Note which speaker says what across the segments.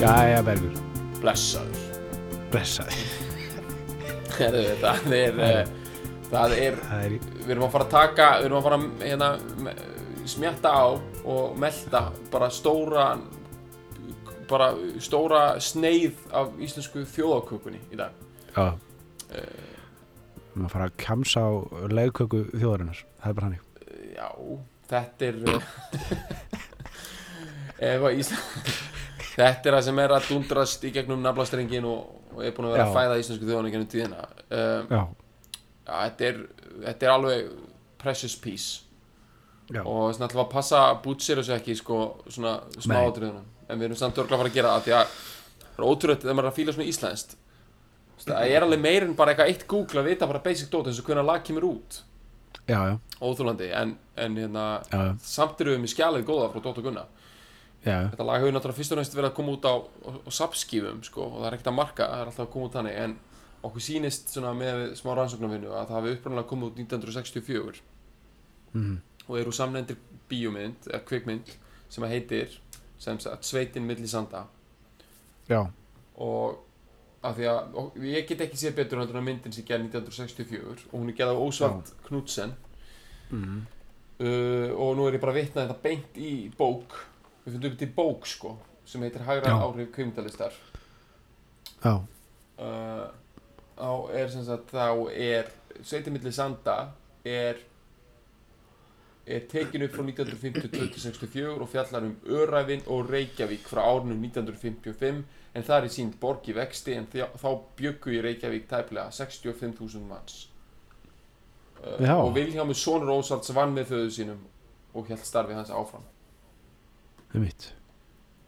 Speaker 1: Jæja, Bergur,
Speaker 2: blessaður
Speaker 1: blessaði.
Speaker 2: Herðu, það er eh, það er,
Speaker 1: Það er í...
Speaker 2: við erum að fara að taka við erum að fara að hérna, me- smjatta á og melta bara stóra bara stóra sneið af íslensku þjóðakökunni í dag
Speaker 1: Já. Við erum að fara að kemsa á legköku þjóðarinnar. Það er bara hannig.
Speaker 2: já, þetta er eh, ef að Ísland þetta er það sem er að dundrast í gegnum naflastrengin og, og er búin að
Speaker 1: Já.
Speaker 2: vera að fæða íslensku þjóðakökunni gennum tíðina um,
Speaker 1: Já.
Speaker 2: já, þetta, er, þetta er alveg precious piece
Speaker 1: Já.
Speaker 2: og svona ætlum við að passa bútsir þessu ekki sko svona smá
Speaker 1: Nei.
Speaker 2: átriðunum en við erum samt örgulega að fara að gera það því að það er ótrúlegt þegar maður er að fíla svona íslenskt Þú veist, það er alveg meir en bara eitthvað eitt Google að vita bara basic dot eins og hvernig lag kemur út
Speaker 1: Já, já.
Speaker 2: óþúlandi en, en hérna
Speaker 1: Já, já.
Speaker 2: samt eru við með skjalið góða frá Dótt og Gunna
Speaker 1: Já, já.
Speaker 2: þetta lag hefur náttúrulega fyrst og næst verið að koma út á, á, á sapskífum sko og það er ekkert að marka það er alltaf að koma út þannig en okkur sýnist svona með smá rannsóknarvinnu að það hafi upprunalega komið út 1964
Speaker 1: Mhm.
Speaker 2: og eru samnefndir bíómynd eða kvikmynd sem að heitir sem sagt Sveitin milli sanda
Speaker 1: Já.
Speaker 2: og af því að og, ég get ekki séð betur heldur en að myndin sem gerði 1964 og hún er gerð af Ósvart Knudsen
Speaker 1: Mm.
Speaker 2: uh, og nú er ég bara að vitna þetta beint í bók við fundum upp til bók sko sem heitir Hægra
Speaker 1: Já.
Speaker 2: áhrif kvimdalistar
Speaker 1: Já.
Speaker 2: uh, á er sem sagt þá er Sveitimilli Sanda er er tekin upp frá 1950-1964 og fjallar um Öræfin og Reykjavík frá árunum 1955 en það er sínd borg í vexti en þjá, þá bjöggu í Reykjavík tæplega 65.000 manns uh,
Speaker 1: Já.
Speaker 2: og Vilhjámi Sónur Ósalds vann með föðu sínum og held starfi hans áfram
Speaker 1: Það er mitt.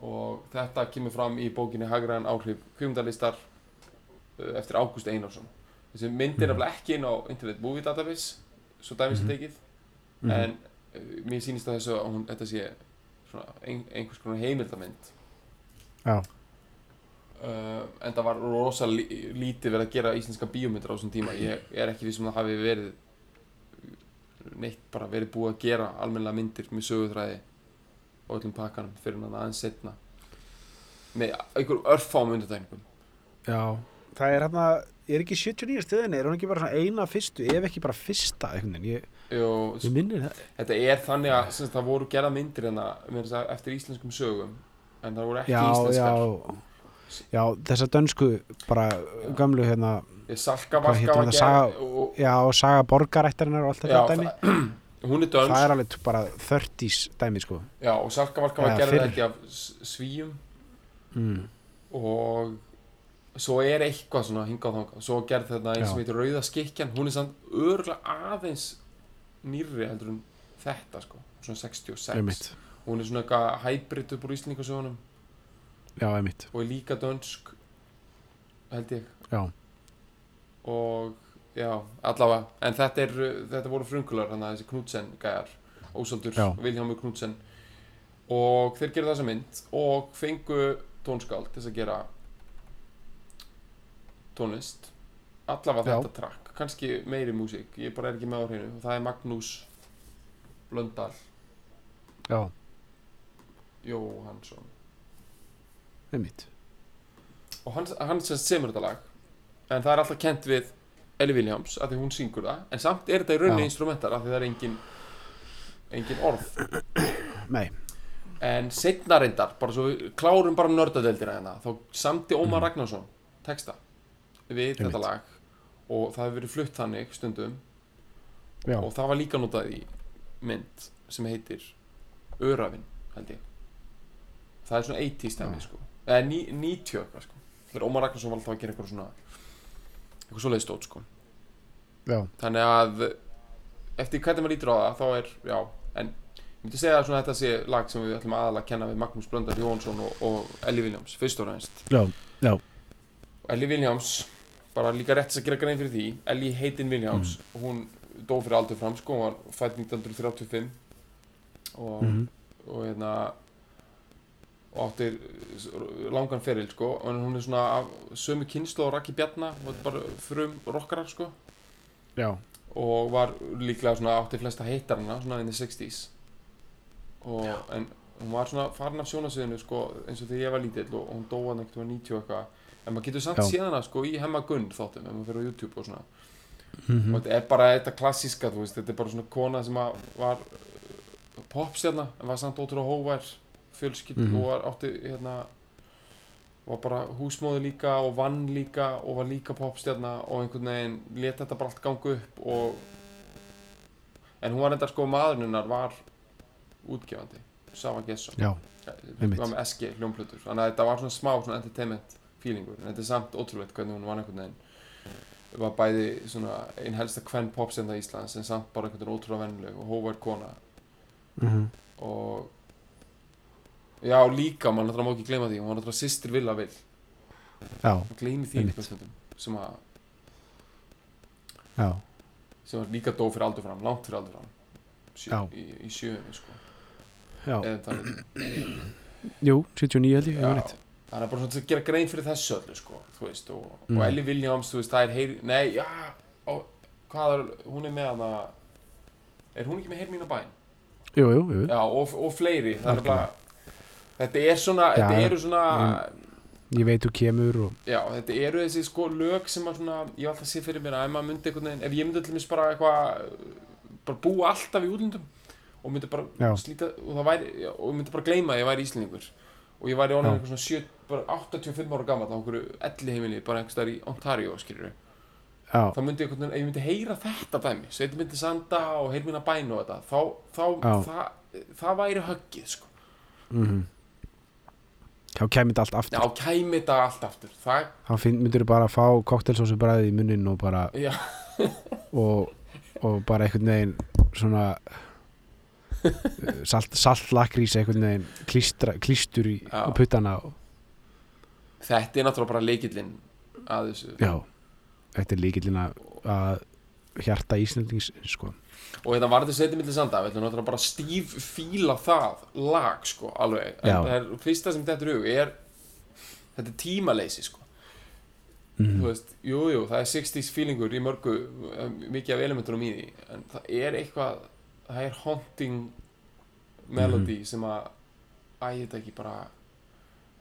Speaker 2: og þetta kemur fram í bókinni Hagræðan áhrif kvikmyndalistar uh, eftir Ágúst Einarsson þessi mynd
Speaker 1: Mhm.
Speaker 2: er nefnilega ekki inn á Internet Movie Database svo dæmis er
Speaker 1: Mhm.
Speaker 2: tekið
Speaker 1: Mhm.
Speaker 2: en uh, mér sýnist að þessu að hún, þetta sé svona ein, einhvers konar heimildamynd
Speaker 1: Já.
Speaker 2: uh, en það var rosa lí, lítið verið að gera íslenska bíómyndir á þessum tíma ég er ekki vissum að það hafi verið neitt bara verið búið að gera almennilega myndir með sögutræði og öllum pakkanum fyrir hann aðeins setna með einhver örfám undirtækningum
Speaker 1: Já. Það er hérna, er ekki 79 stöðinni, er hún ekki bara svona eina fyrstu, ef ekki bara fyrsta, einhvern veginn, ég,
Speaker 2: og
Speaker 1: ég minnir það.
Speaker 2: þetta er þannig að sem sagt, það voru gerða myndir hérna meira að segja, eftir íslenskum sögum en það voru ekki
Speaker 1: Já,
Speaker 2: íslenskar
Speaker 1: já, já, þessa dönsku, bara gömlu hérna,
Speaker 2: Ég Salka
Speaker 1: Hvað heitir
Speaker 2: Valka var
Speaker 1: þetta?
Speaker 2: gerð
Speaker 1: Saga-
Speaker 2: og,
Speaker 1: já, og saga borgarættarinnar og allt
Speaker 2: já,
Speaker 1: þetta dæmi.
Speaker 2: það, hún er
Speaker 1: Það,
Speaker 2: dönsk
Speaker 1: er alveg t- bara 30s dæmi, sko.
Speaker 2: já, og Salka Valka var
Speaker 1: Já,
Speaker 2: gerð
Speaker 1: fyrir.
Speaker 2: held ég, af S- svíum
Speaker 1: Mm.
Speaker 2: og svo er eitthvað svona hingað og þangað svo gerð þetta eins sem
Speaker 1: Já.
Speaker 2: heitir Rauða skikjan hún er samt örgulega aðeins nýrri heldur en þetta sko svona 66
Speaker 1: Einmitt.
Speaker 2: hún er svona eitthvað hybrid upp úr íslendingasögunum
Speaker 1: Já, einmitt.
Speaker 2: og er líka dönsk held ég
Speaker 1: Já.
Speaker 2: og já, allavega en þetta, er, uh, þetta voru frungular þannig þessi Knudsen gæjar Ósaldur,
Speaker 1: Já.
Speaker 2: Vilhjámi Knudsen og þeir gerðu þessa mynd og fengu tónskáld til þess að gera tónlist allavega
Speaker 1: Já.
Speaker 2: þetta track, kannski meiri músík ég bara er ekki með á hreinu og það er Magnús Blöndal
Speaker 1: Já,
Speaker 2: Jóhansson
Speaker 1: einmitt.
Speaker 2: og hann, hann sem semur þetta lag en það er alltaf kent við Ellie Williams af því hún syngur það en samt er þetta í rauninni
Speaker 1: Já.
Speaker 2: instrumentar af því það er engin engin orð
Speaker 1: Nei,
Speaker 2: en setna reyndar, bara svo við klárum bara nördadeldina hérna, þá samti Ómar Ragnarsson texta við
Speaker 1: Mhm. Einmitt.
Speaker 2: þetta lag og það hefur verið flutt þannig stundum
Speaker 1: já,
Speaker 2: og það var líka notað í mynd sem heitir Örafin, held ég það er svona 80s dæmi
Speaker 1: Já.
Speaker 2: sko. eða ní- 90 eitthvað, sko. þegar Ómar Ragnarsson var alltaf að gera eitthvað svona eitthvað svoleiði stótt sko.
Speaker 1: já,
Speaker 2: þannig að eftir hvernig maður lítur á það þá er, já, en ég myndi segja að svona þetta sé lag sem við ætlum aðalega að kenna við Magnús Blöndar Jónsson og, og Elli Williams, fyrst og reynst
Speaker 1: já, já,
Speaker 2: og Ellie Williams bara líka rétt að gera grein fyrir því Ellie Hayden Williams,
Speaker 1: Mm.
Speaker 2: hún dó fyrir aldur fram sko, hún var fætt 1935 og,
Speaker 1: Mhm.
Speaker 2: og hérna og átti s- langan feril sko, en hún er svona af sömu kynslu og Raki Bjarna og þetta er bara frum rockarar sko
Speaker 1: Já,
Speaker 2: og var líklega svona átti flesta heitarana svona in the 60s og, en hún var svona farin af sjónasviðinu sko, eins og þegar ég var lítill og hún dóa neitt og 90 og eitthvað en maður getur samt
Speaker 1: Já.
Speaker 2: síðan að sko í hemma Gunn þáttum ef maður fyrir á YouTube og svona
Speaker 1: Mhm.
Speaker 2: og þetta er bara þetta klassíska þú veist þetta er bara svona kona sem að var uh, popstjarna en var samt ótrúlega hóvær fjölskyld
Speaker 1: Mhm.
Speaker 2: og var átti hérna var bara húsmóði líka og vann líka og var líka popstjarna og einhvern veginn leta þetta bara allt ganga upp og en hún var enda sko maðurinnar var útgefandi Sava Gesson
Speaker 1: já, Einmitt.
Speaker 2: við varum með SG hljómplötur þannig að þetta var svona smá svona entertainment feelingur en þetta er samt ótrúlegt hvernig hún var einhvern veginn var bæði svona einn helsta kvenn popsenda Íslands en samt bara einhvern veginn ótrúlega vennileg og hóvar kona
Speaker 1: Mhm.
Speaker 2: og já líka, maður náttúrulega má ekki gleyma því hún var náttúrulega sýstir vilja vil
Speaker 1: já,
Speaker 2: gleymi því
Speaker 1: Einmitt.
Speaker 2: einhvern veginn sem, að-
Speaker 1: já
Speaker 2: sem var líka dó fyrir aldur fram, langt fyrir aldur fram sjö,
Speaker 1: Já.
Speaker 2: í, í sjöunni sko
Speaker 1: Já,
Speaker 2: eða um það
Speaker 1: jú, 79 held ég, ég var
Speaker 2: Já,
Speaker 1: rétt
Speaker 2: þannig að bara svona til að gera grein fyrir þessu öllu sko, þú veist, og,
Speaker 1: Mm.
Speaker 2: og Ellie Williams, þú veist, það er heyri, nei, já, og, hvað er, hún er með hana, er hún ekki með heyri mín á bæn?
Speaker 1: Jú, jú, jú,
Speaker 2: Já, og, og fleiri, það er
Speaker 1: Hm? Algjörlega.
Speaker 2: bara, þetta er svona,
Speaker 1: Já,
Speaker 2: þetta eru svona,
Speaker 1: ég veit þú kemur og
Speaker 2: já, þetta eru þessi sko lög sem að svona, ég hef alltaf sé fyrir mér að ef maður myndi einhvern veginn, ef ég myndi allir mis bara eitthvað, bara búa alltaf í útlöndum og myndi bara
Speaker 1: Já.
Speaker 2: slíta, og það væri, já, og ég myndi bara gleyma að ég væri íslendingur og ég væri
Speaker 1: Já.
Speaker 2: orðin eitthvað svona 7, bara 85 ára gammal á okkur elli heimili, bara einhvers staðar í Ontario, skilur
Speaker 1: Já,
Speaker 2: þá myndi ég einhvern veginn, ef ég myndi heyra þetta dæmi Sveitin myndi sanda og heyr mína bæn og þetta þá, þá,
Speaker 1: Já.
Speaker 2: það, það væri höggið, sko
Speaker 1: mhm Þá kemur þetta allt
Speaker 2: Já,
Speaker 1: aftur
Speaker 2: kæmi þetta allt aftur, það,
Speaker 1: Þá finn- myndirðu bara að fá koktelsósu bræði í munnin og bara
Speaker 2: já,
Speaker 1: og, og bara einhvern veginn svona uh, salt, salt lakrís einhvern veginn klístra, klístur í á
Speaker 2: Já.
Speaker 1: puttana og,
Speaker 2: þetta er náttúrulega bara leikillinn að þessu
Speaker 1: já, þetta er líkillin að, að hjarta Íslandings sko.
Speaker 2: og hérna var þetta setið millir sanda við ætlum náttúrulega bara stíf fíla það lag sko alveg
Speaker 1: Já.
Speaker 2: En það er fyrsta sem þetta er hug er þetta er tímaleysi sko
Speaker 1: Mm.
Speaker 2: þú veist, jú, jú, það er 60s feelingur í mörgu, eh, mikið af elementunum í því en það er eitthvað það er haunting melody sem að æ, þetta ekki bara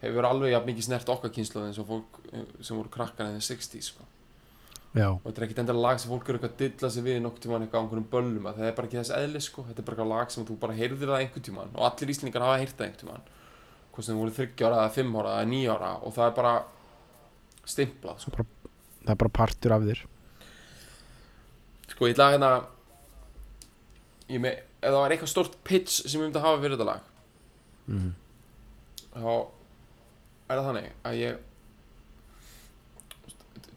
Speaker 2: hefur alveg jafn mikið snert okkar kynslu eins og fólk eh, sem voru krakkar en 60s sko
Speaker 1: já,
Speaker 2: og þetta er ekkert endilega lag sem fólk er eitthvað að dilla sig við nokkuð tímann eitthvað á einhvernum böllum að það er bara ekki þess eðli sko, þetta er bara eitthvað lag sem þú bara heyrðir það einhvern tímann og allir íslendingar hafa heyrt það einhvern tímann hvort sem þú voru 30 ára eða 5 ára eða 9 ára og það er bara stimplað sko,
Speaker 1: það er bara partur af þér
Speaker 2: sko ég ætla að hérna ég með, ef það var eitthvað stórt pitch sem ég myndi að hafa fyrir þetta lag
Speaker 1: Mhm.
Speaker 2: þá er það þannig að ég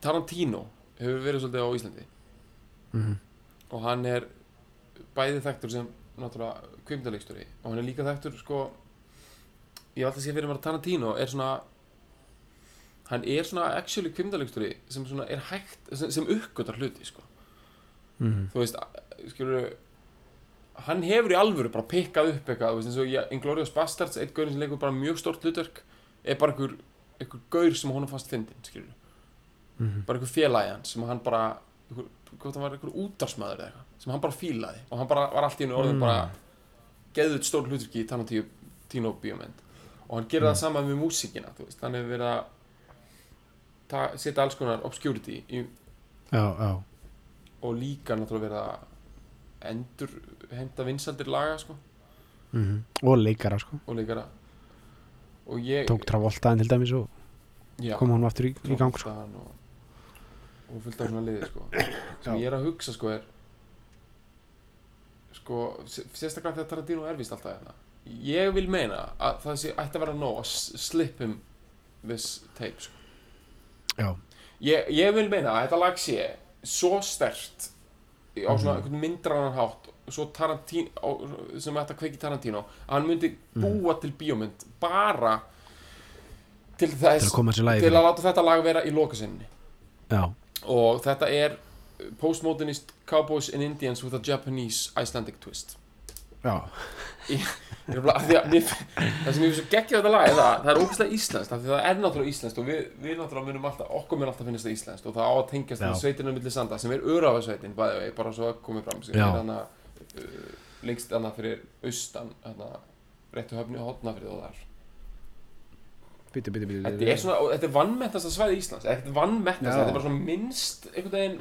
Speaker 2: Tarantino hefur verið svolítið á Íslandi
Speaker 1: Mhm.
Speaker 2: og hann er bæði þekktur sem náttúrulega kvimdaleikstjóri og hann er líka þekktur sko ég hef alltaf sé fyrir mér að Tarantino er svona hann er svona actually kvimdaleikstjóri sem svona er hægt sem, sem uppgötar hluti sko
Speaker 1: Mhm.
Speaker 2: þú veist skilur hann hefur í alvöru bara pikkað upp eitthvað þú veist eins og ég- Inglourious Bastards eitt gaurinn sem leikur bara mjög stort hlutverk er bara einhver, einhver gaur sem honum fannst fyndin skilur
Speaker 1: Mhm.
Speaker 2: bara einhver félagi hans sem hann bara einhver, hvort hann var einhver útarsmaður eða eitthvað sem hann bara fílaði og hann bara var allt í einu orðin
Speaker 1: Mm.
Speaker 2: bara geðut stór hlutverki í Tarantino bíómynd og hann gerir það sama með músíkina þú veist, hann hefur verið að ta- setja alls konar obscurity í,
Speaker 1: já, já,
Speaker 2: og líka náttúrulega verið að endur heimta vinsaldir laga sko
Speaker 1: mhm. og leikara sko
Speaker 2: og leikara og ég
Speaker 1: tók travoltaðin til dæmis og
Speaker 2: já,
Speaker 1: kom hann aftur í, í gang sko.
Speaker 2: Tróttan og, og fullt af svona liði sko sem ég er að hugsa sko er sko, s- sérstaklega þegar Tarantino er vist alltaf hérna ég vil meina að það sé ætti að vera nóg að s- slip him this tape sko.
Speaker 1: já,
Speaker 2: ég, ég vil meina að þetta lag sé svo stert á svona
Speaker 1: Mhm.
Speaker 2: einhvern myndrannan hátt svo Tarantino, á-
Speaker 1: Mhm.
Speaker 2: sem ætti að kveiki Tarantino að hann myndi búa til bíómynd bara til
Speaker 1: til
Speaker 2: þess
Speaker 1: að koma þessu lagi
Speaker 2: til að láta þetta lag vera í lokasinni
Speaker 1: já,
Speaker 2: og þetta er postmodernist cowboys and indians with a Japanese Icelandic twist
Speaker 1: já,
Speaker 2: Ég er nefnilega- af því að mér- það sem ég finnst svo geggjað við þetta lag er það, það er ógæslega íslenskt af því það er náttúrulega íslenskt og við, við náttúrulega munum alltaf okkur mun alltaf finnast það íslenskt og það á að tengjast
Speaker 1: Já.
Speaker 2: það sveitina milli sanda sem er örafasveitin bæði, bara svo að komið fram sem
Speaker 1: Já.
Speaker 2: er hana, uh, lengst hana fyrir austan hana, réttu höfni hotnafrið og þar
Speaker 1: bíti, bíti, bíti
Speaker 2: Þetta er svona, og þetta er vannmettasta svæði Íslands eða Þetta er vannmettasta,
Speaker 1: Já.
Speaker 2: þetta er bara svona minnst einhvern veginn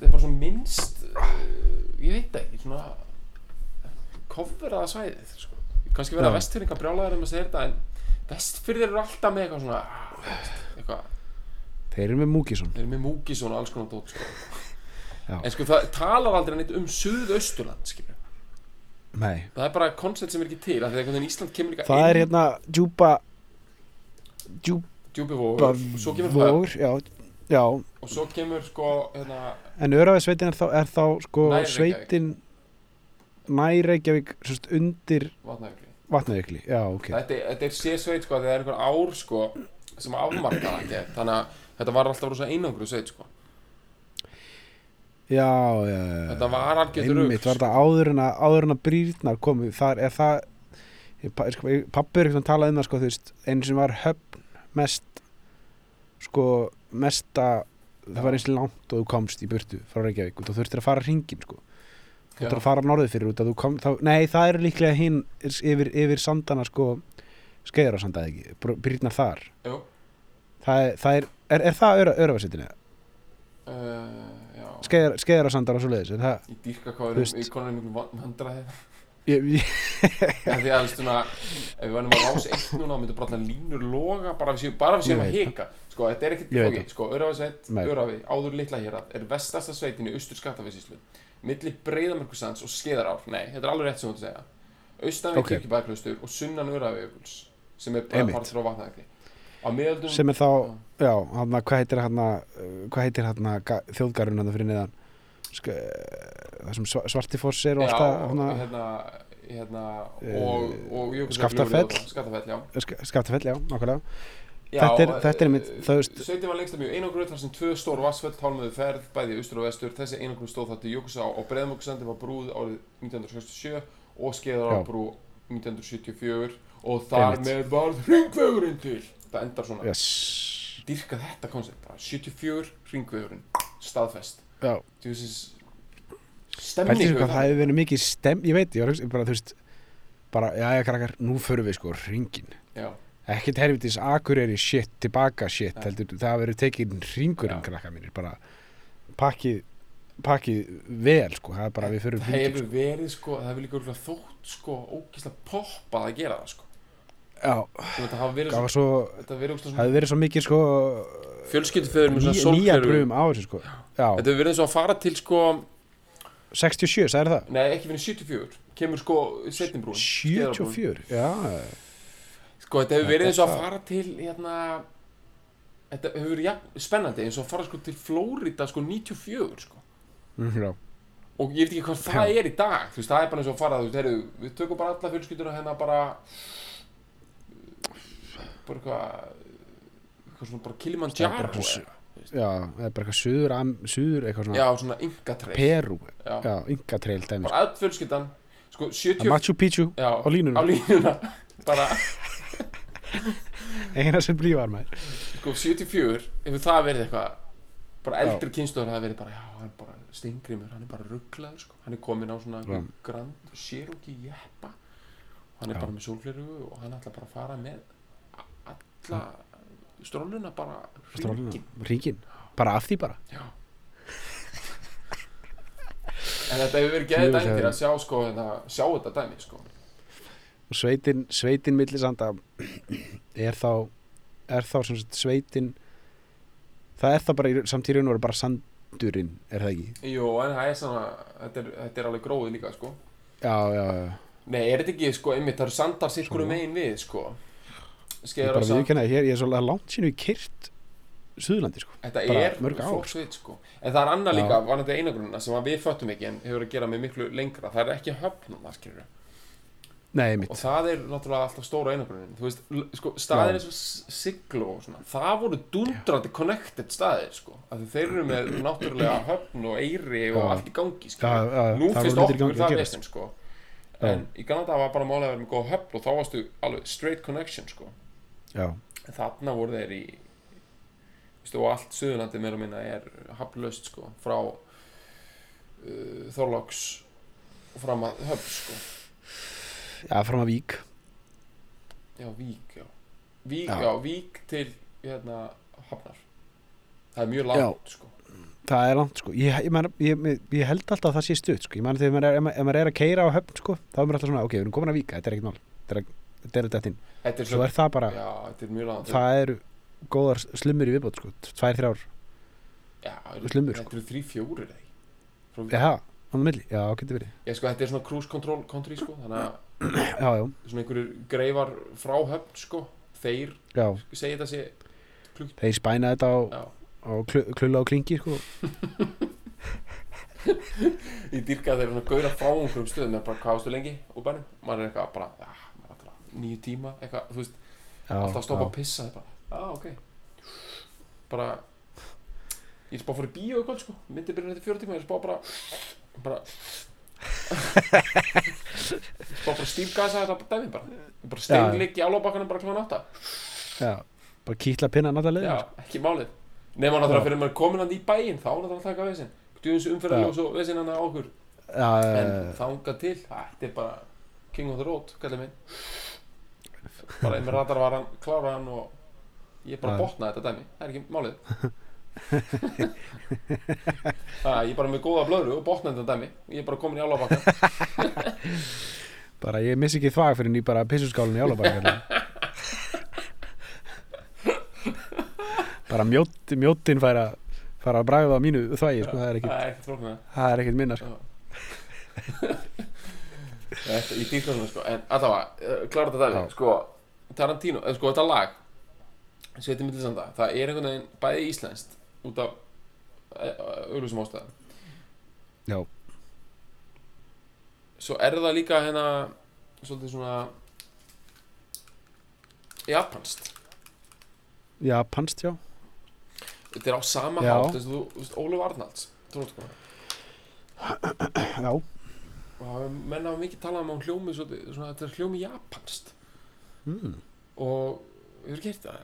Speaker 2: þetta er bara svona minnst uh, ég veit það ekki, svona kofveraða svæðið sko. kannski verða
Speaker 1: Já.
Speaker 2: vestfyrninga brjálæður um að segja þetta en vestfyrðir eru alltaf með eitthvað svona ah, þú veist, eitthvað,
Speaker 1: þeir eru með Múkisson
Speaker 2: þeir eru með múkisón og alls konar dót sko.
Speaker 1: Já.
Speaker 2: en sko það talar aldrei neitt um suðausturland skilur.
Speaker 1: nei,
Speaker 2: það er bara koncept sem er ekki til af því að einhvern veginn Ísland kemur líka
Speaker 1: það
Speaker 2: inn
Speaker 1: er hérna djúpa djúpa
Speaker 2: djúpivogur og svo kemur höfn
Speaker 1: vogur, já, já
Speaker 2: og svo kemur sko hérna,
Speaker 1: en Öraðisveitin er þá, er þá sko
Speaker 2: Nær Reykjavík.
Speaker 1: sveitin nær Reykjavík svo sagt, undir
Speaker 2: vatnajökli
Speaker 1: vatnajökli já, ok,
Speaker 2: þetta, þetta er sérsveit sko, þetta er einhver ár sko, sem afmarka það ekki þannig að þetta var alltaf rosa einangru sveit sko.
Speaker 1: já, já, já
Speaker 2: þetta var algjörður
Speaker 1: einmitt, var þetta áður en að, áður en að brýrnar komu, þar er það ég, pa- sko, ég- pabbi er eitthvað að tala um það sko, þú veist, einu sem var höfn mest sko, mesta það var eins langt og þú komst í burtu frá Reykjavík og þú þurftir að fara hringin sko. þú þurftir að fara norðið fyrir út að þú kom þá, nei, það er líklega hinn yfir, yfir sandana sko, skeiðar á sanda ekki, brýrnar þar
Speaker 2: Jú.
Speaker 1: það er, það er, er, er það öra, örafasitinu,
Speaker 2: uh, já,
Speaker 1: skeiðar, skeiðar á sandar og svo leiðis, er það
Speaker 2: í dýrka
Speaker 1: Þú
Speaker 2: hvað
Speaker 1: veist.
Speaker 2: erum í konum einhvern vandra þeir
Speaker 1: ég, ég,
Speaker 2: því að þú veist, svona, ef við varum að rása eitt núna þá myndur bara allar línur loga bara við séum, bara við
Speaker 1: Ég
Speaker 2: séum að
Speaker 1: veit
Speaker 2: hika sko, þetta er ekkit,
Speaker 1: Ég veit
Speaker 2: ok, sko, Örafisveit
Speaker 1: Nei.
Speaker 2: Örafi, áður litla hérað, er vestasta sveitin í austur skattafisíslu, milli breyðamörkusands og skeðarár, nei, þetta er alveg rétt sem þú ert að segja, austan við
Speaker 1: Ok.
Speaker 2: okay. kirkjubæklaustur og sunnan Örafijökuls sem er bara
Speaker 1: Einmitt.
Speaker 2: partur á vatnaðakli á miðöldum,
Speaker 1: sem er þá já, hann hvað heitir hann hvað heitir hann þjóðgarun hann fyrir neðan Sk eh, það sem Sva- svartifoss er og
Speaker 2: já,
Speaker 1: alltaf
Speaker 2: og
Speaker 1: hana,
Speaker 2: hérna, hérna
Speaker 1: Eh,
Speaker 2: og, og Jökulsárgljúfur
Speaker 1: Skaftafell.
Speaker 2: og- Skaftafell, já
Speaker 1: sk skaftafell, já, nákvæmlega
Speaker 2: Já,
Speaker 1: Þetta er- þetta er einmitt,
Speaker 2: eh,
Speaker 1: þú veist-
Speaker 2: Sveitin var lengst af mjög einangröð þar sem tvö stór vassföll tálmöðu ferð bæði í austur og vestur þessi einangröð stóð þar til Jökulsá og Breiðmokkasandi var brúð árið 1967 og skeiðar á
Speaker 1: Já.
Speaker 2: brú 1974 og þar
Speaker 1: Einmitt.
Speaker 2: með varð hringvegurinn til það endar svona
Speaker 1: yes.
Speaker 2: dýrka þetta koncept bara 74 hringvegurinn staðfest
Speaker 1: já,
Speaker 2: Þú veist,
Speaker 1: pælti
Speaker 2: stemningu
Speaker 1: sem hvað það hefur verið mikið stem ég veit, ég var að hugsa- bara, þú veist bara, já, já, krakkar, nú förum við sko ringin
Speaker 2: Já,
Speaker 1: ekkert helvitis akureyri shit, tilbaka shit
Speaker 2: Já.
Speaker 1: heldur, það verður tekið ringurinn
Speaker 2: Já.
Speaker 1: krakkar mínir, bara pakkið pakkið vel, sko, það er bara við förum
Speaker 2: það
Speaker 1: hringinn,
Speaker 2: hefur verið sko, það hefur líka örugglega þótt sko ógislega poppað að gera það sko
Speaker 1: sko. já,
Speaker 2: Þú veit, það hafa verið
Speaker 1: það
Speaker 2: svo,
Speaker 1: var svo
Speaker 2: þetta hafa verið ógislega
Speaker 1: það hefði verið svo mikið sko
Speaker 2: fjölskylduföður með
Speaker 1: ný,
Speaker 2: svona
Speaker 1: nýja
Speaker 2: sólkerfi
Speaker 1: brum á þessu sko já,
Speaker 2: þetta hefur verið eins og að fara til sko
Speaker 1: 67, sagði það
Speaker 2: nei ekki verið 74 kemur sko setjumbrún
Speaker 1: 74, já
Speaker 2: sko þetta hefur verið eins og
Speaker 1: Þetta-
Speaker 2: að fara til hérna þetta hefur verið ja, spennandi eins og að fara sko til Flórida sko 94 sko
Speaker 1: Mhm, já,
Speaker 2: og ég veit ekki hvað það er í dag þú veist það er bara eins og að fara þú veist heyrðu, við tökum bara alla fjölskylduna hérna bara bara eitthvað eitthvað svona bara
Speaker 1: Það er bara
Speaker 2: Kilimanjaro
Speaker 1: svona-
Speaker 2: eða.
Speaker 1: já, það er bara eitthvað suður, am- suður eitthvað svona
Speaker 2: já svona yngatreif
Speaker 1: Peru,
Speaker 2: já.
Speaker 1: já, Inga trail dæmis
Speaker 2: bara öll fjölskyldan sko 70
Speaker 1: Machu Picchu
Speaker 2: já,
Speaker 1: á línunum.
Speaker 2: á línuna bara
Speaker 1: eina sem blívar maður
Speaker 2: sko 74 hefur það verið eitthvað bara eldri kynstóður hafa verið bara já, hann er bara steingrimur, hann er bara rugglaður sko. hann er komin á svona einhvern grand Cherokee jeppa og hann er
Speaker 1: Já.
Speaker 2: bara með sólfleru og hann ætla bara að fara með a- alla stróluna bara hringinn.
Speaker 1: ringin, bara af því bara
Speaker 2: Já. en þetta hefur verið geðið
Speaker 1: Djöfull
Speaker 2: dæmi til
Speaker 1: hefur-
Speaker 2: að sjá sko, þetta- sjá þetta dæmi sko.
Speaker 1: og sveitin, sveitin millisanda er þá er þá sem sagt sveitin það er þá bara í- samt í raun og veru bara sandurinn, er það ekki?
Speaker 2: Jú, en það er svona þetta er, þetta er alveg gróið líka sko.
Speaker 1: Já, já, já
Speaker 2: Nei, er þetta ekki, sko, einmitt, það eru sandar sikkur um
Speaker 1: Svona.
Speaker 2: einn við, sko
Speaker 1: ég
Speaker 2: Skeiðar
Speaker 1: bara
Speaker 2: og sand,
Speaker 1: viðkynna hér, ég er svolítið langt sínu í kyrt Suðurlandi sko
Speaker 2: þetta
Speaker 1: bara
Speaker 2: er
Speaker 1: mörg ár,
Speaker 2: fólksveit, sko En það er annað
Speaker 1: Já.
Speaker 2: líka, varandi einagrunna, sem að við föttum ekki en hefur að gera með miklu lengra Það er ekki höfnum, það skilur
Speaker 1: Nei,
Speaker 2: og
Speaker 1: mitt,
Speaker 2: það er náttúrulega alltaf stóra einabrunin þú veist, l- sko, staðir eins og Siglo og svona, það voru dundrandi connected staðir, sko, af því þeir eru með náttúrulega höfn og eyri og
Speaker 1: Já.
Speaker 2: allt í gangi, sko,
Speaker 1: það, það,
Speaker 2: nú
Speaker 1: það
Speaker 2: finnst
Speaker 1: voru hlutir í gangi
Speaker 2: okkur
Speaker 1: að
Speaker 2: það
Speaker 1: gerast.
Speaker 2: vestin, sko en í gangan það var bara málega að vera með góða höfn og þá varstu alveg straight connection, sko
Speaker 1: Já,
Speaker 2: en þarna voru þeir í þú veist, og allt Suðurlandi meira og minna er hafnlaust, sko, frá uh, Þorláks og fram að höfn, sko
Speaker 1: já, fram að vík
Speaker 2: Já, Vík, já Vík,
Speaker 1: Já.
Speaker 2: já, Vík til hérna, Hafnar Það er mjög langt, sko
Speaker 1: Það er langt sko, ég, ég, man, ég, ég- ég held alltaf að það sé stutt sko, ég man þegar maður er, ef maður- ef maður er að keira á höfn sko, þá er maður alltaf svona, ok, við erum komin að víka, þetta er ekkert mál, þetta er- þetta er þetta inn,
Speaker 2: Þetta er
Speaker 1: svo er það bara,
Speaker 2: Já, þetta er mjög langt
Speaker 1: það eru góðar slumur í viðbót sko, tvær, þrjár,
Speaker 2: já,
Speaker 1: slumur,
Speaker 2: Þetta eru þrý fjórir þeir Frá,
Speaker 1: sko. já, hann á milli, já, getur verið,
Speaker 2: Ég sko, þetta er svona cruise control country, sko Þannig að
Speaker 1: já, já,
Speaker 2: svona einhverjir greifar frá höfn, sko Þeir
Speaker 1: já,
Speaker 2: segja þetta sé klukkt
Speaker 1: þeir spæna þetta á,
Speaker 2: Já,
Speaker 1: á klu, klulla og klingi sko,
Speaker 2: ég dýrka þeir svona gauðra frá einhverjum stöðum er bara hvað ástu lengi úr bænum Maður er eitthvað bara, já, maður er alltaf nýju tíma Eitthvað, þú veist,
Speaker 1: já,
Speaker 2: alltaf að stoppa
Speaker 1: já,
Speaker 2: að pissa bara, ah, ok bara ég er spá að fara í bíó í kvöld sko myndi byrja þetta fjóra tíma, ég er spá bara bara ég er spá bara stífgasa þetta dæmi bara, ég bara steinleik í álóbakkanum bara klóðan átta,
Speaker 1: já, bara kýtla pinna náttúrulega sko.
Speaker 2: já,
Speaker 1: leiðina,
Speaker 2: ekki málið nema náttúrulega
Speaker 1: Já.
Speaker 2: fyrir maður er komin hann í bæinn þá er náttúrulega taka vesinn, djúðins umferðarljós og vesinn hann að okkur,
Speaker 1: sko. já,
Speaker 2: en
Speaker 1: já,
Speaker 2: þanga til æ, þetta er bara king of the road, kallið minn bara einmitt ratar var hann, klára hann og ég bara
Speaker 1: Já.
Speaker 2: botnaði þetta dæmi, það er ekki málið Það, ég er bara með góða blöðru og botnaði þetta dæmi ég er bara komin í álabakka
Speaker 1: bara ég missi ekki þvag fyrir ný bara pissuskálinn í hérna. álabæk bara mjótt, mjóttin færa fara að bræða á mínu þvægi sko, það er ekkit,
Speaker 2: það er ekkert flóknir
Speaker 1: það er ekkit minna sko.
Speaker 2: Já. Þetta- ég dýrka svona sko en allavega, klára þetta
Speaker 1: Já.
Speaker 2: dæmi sko, Tarantino, eh, sko þetta lag Sveitir Millisanda, það er einhvern veginn bæði íslenskt út af eh, auðlúsum ástæðan
Speaker 1: já,
Speaker 2: svo er það líka hérna svolítið svona japanst
Speaker 1: já, pannst já
Speaker 2: þetta er á sama
Speaker 1: Já.
Speaker 2: hátt þess að þú, þú veist, Ólaf Arnalds trónskona
Speaker 1: já,
Speaker 2: og hafa- menn hafa mikið talað um að hún hljómi svolítið, svona, þetta er hljómi japanst
Speaker 1: mm.
Speaker 2: og hefur gert það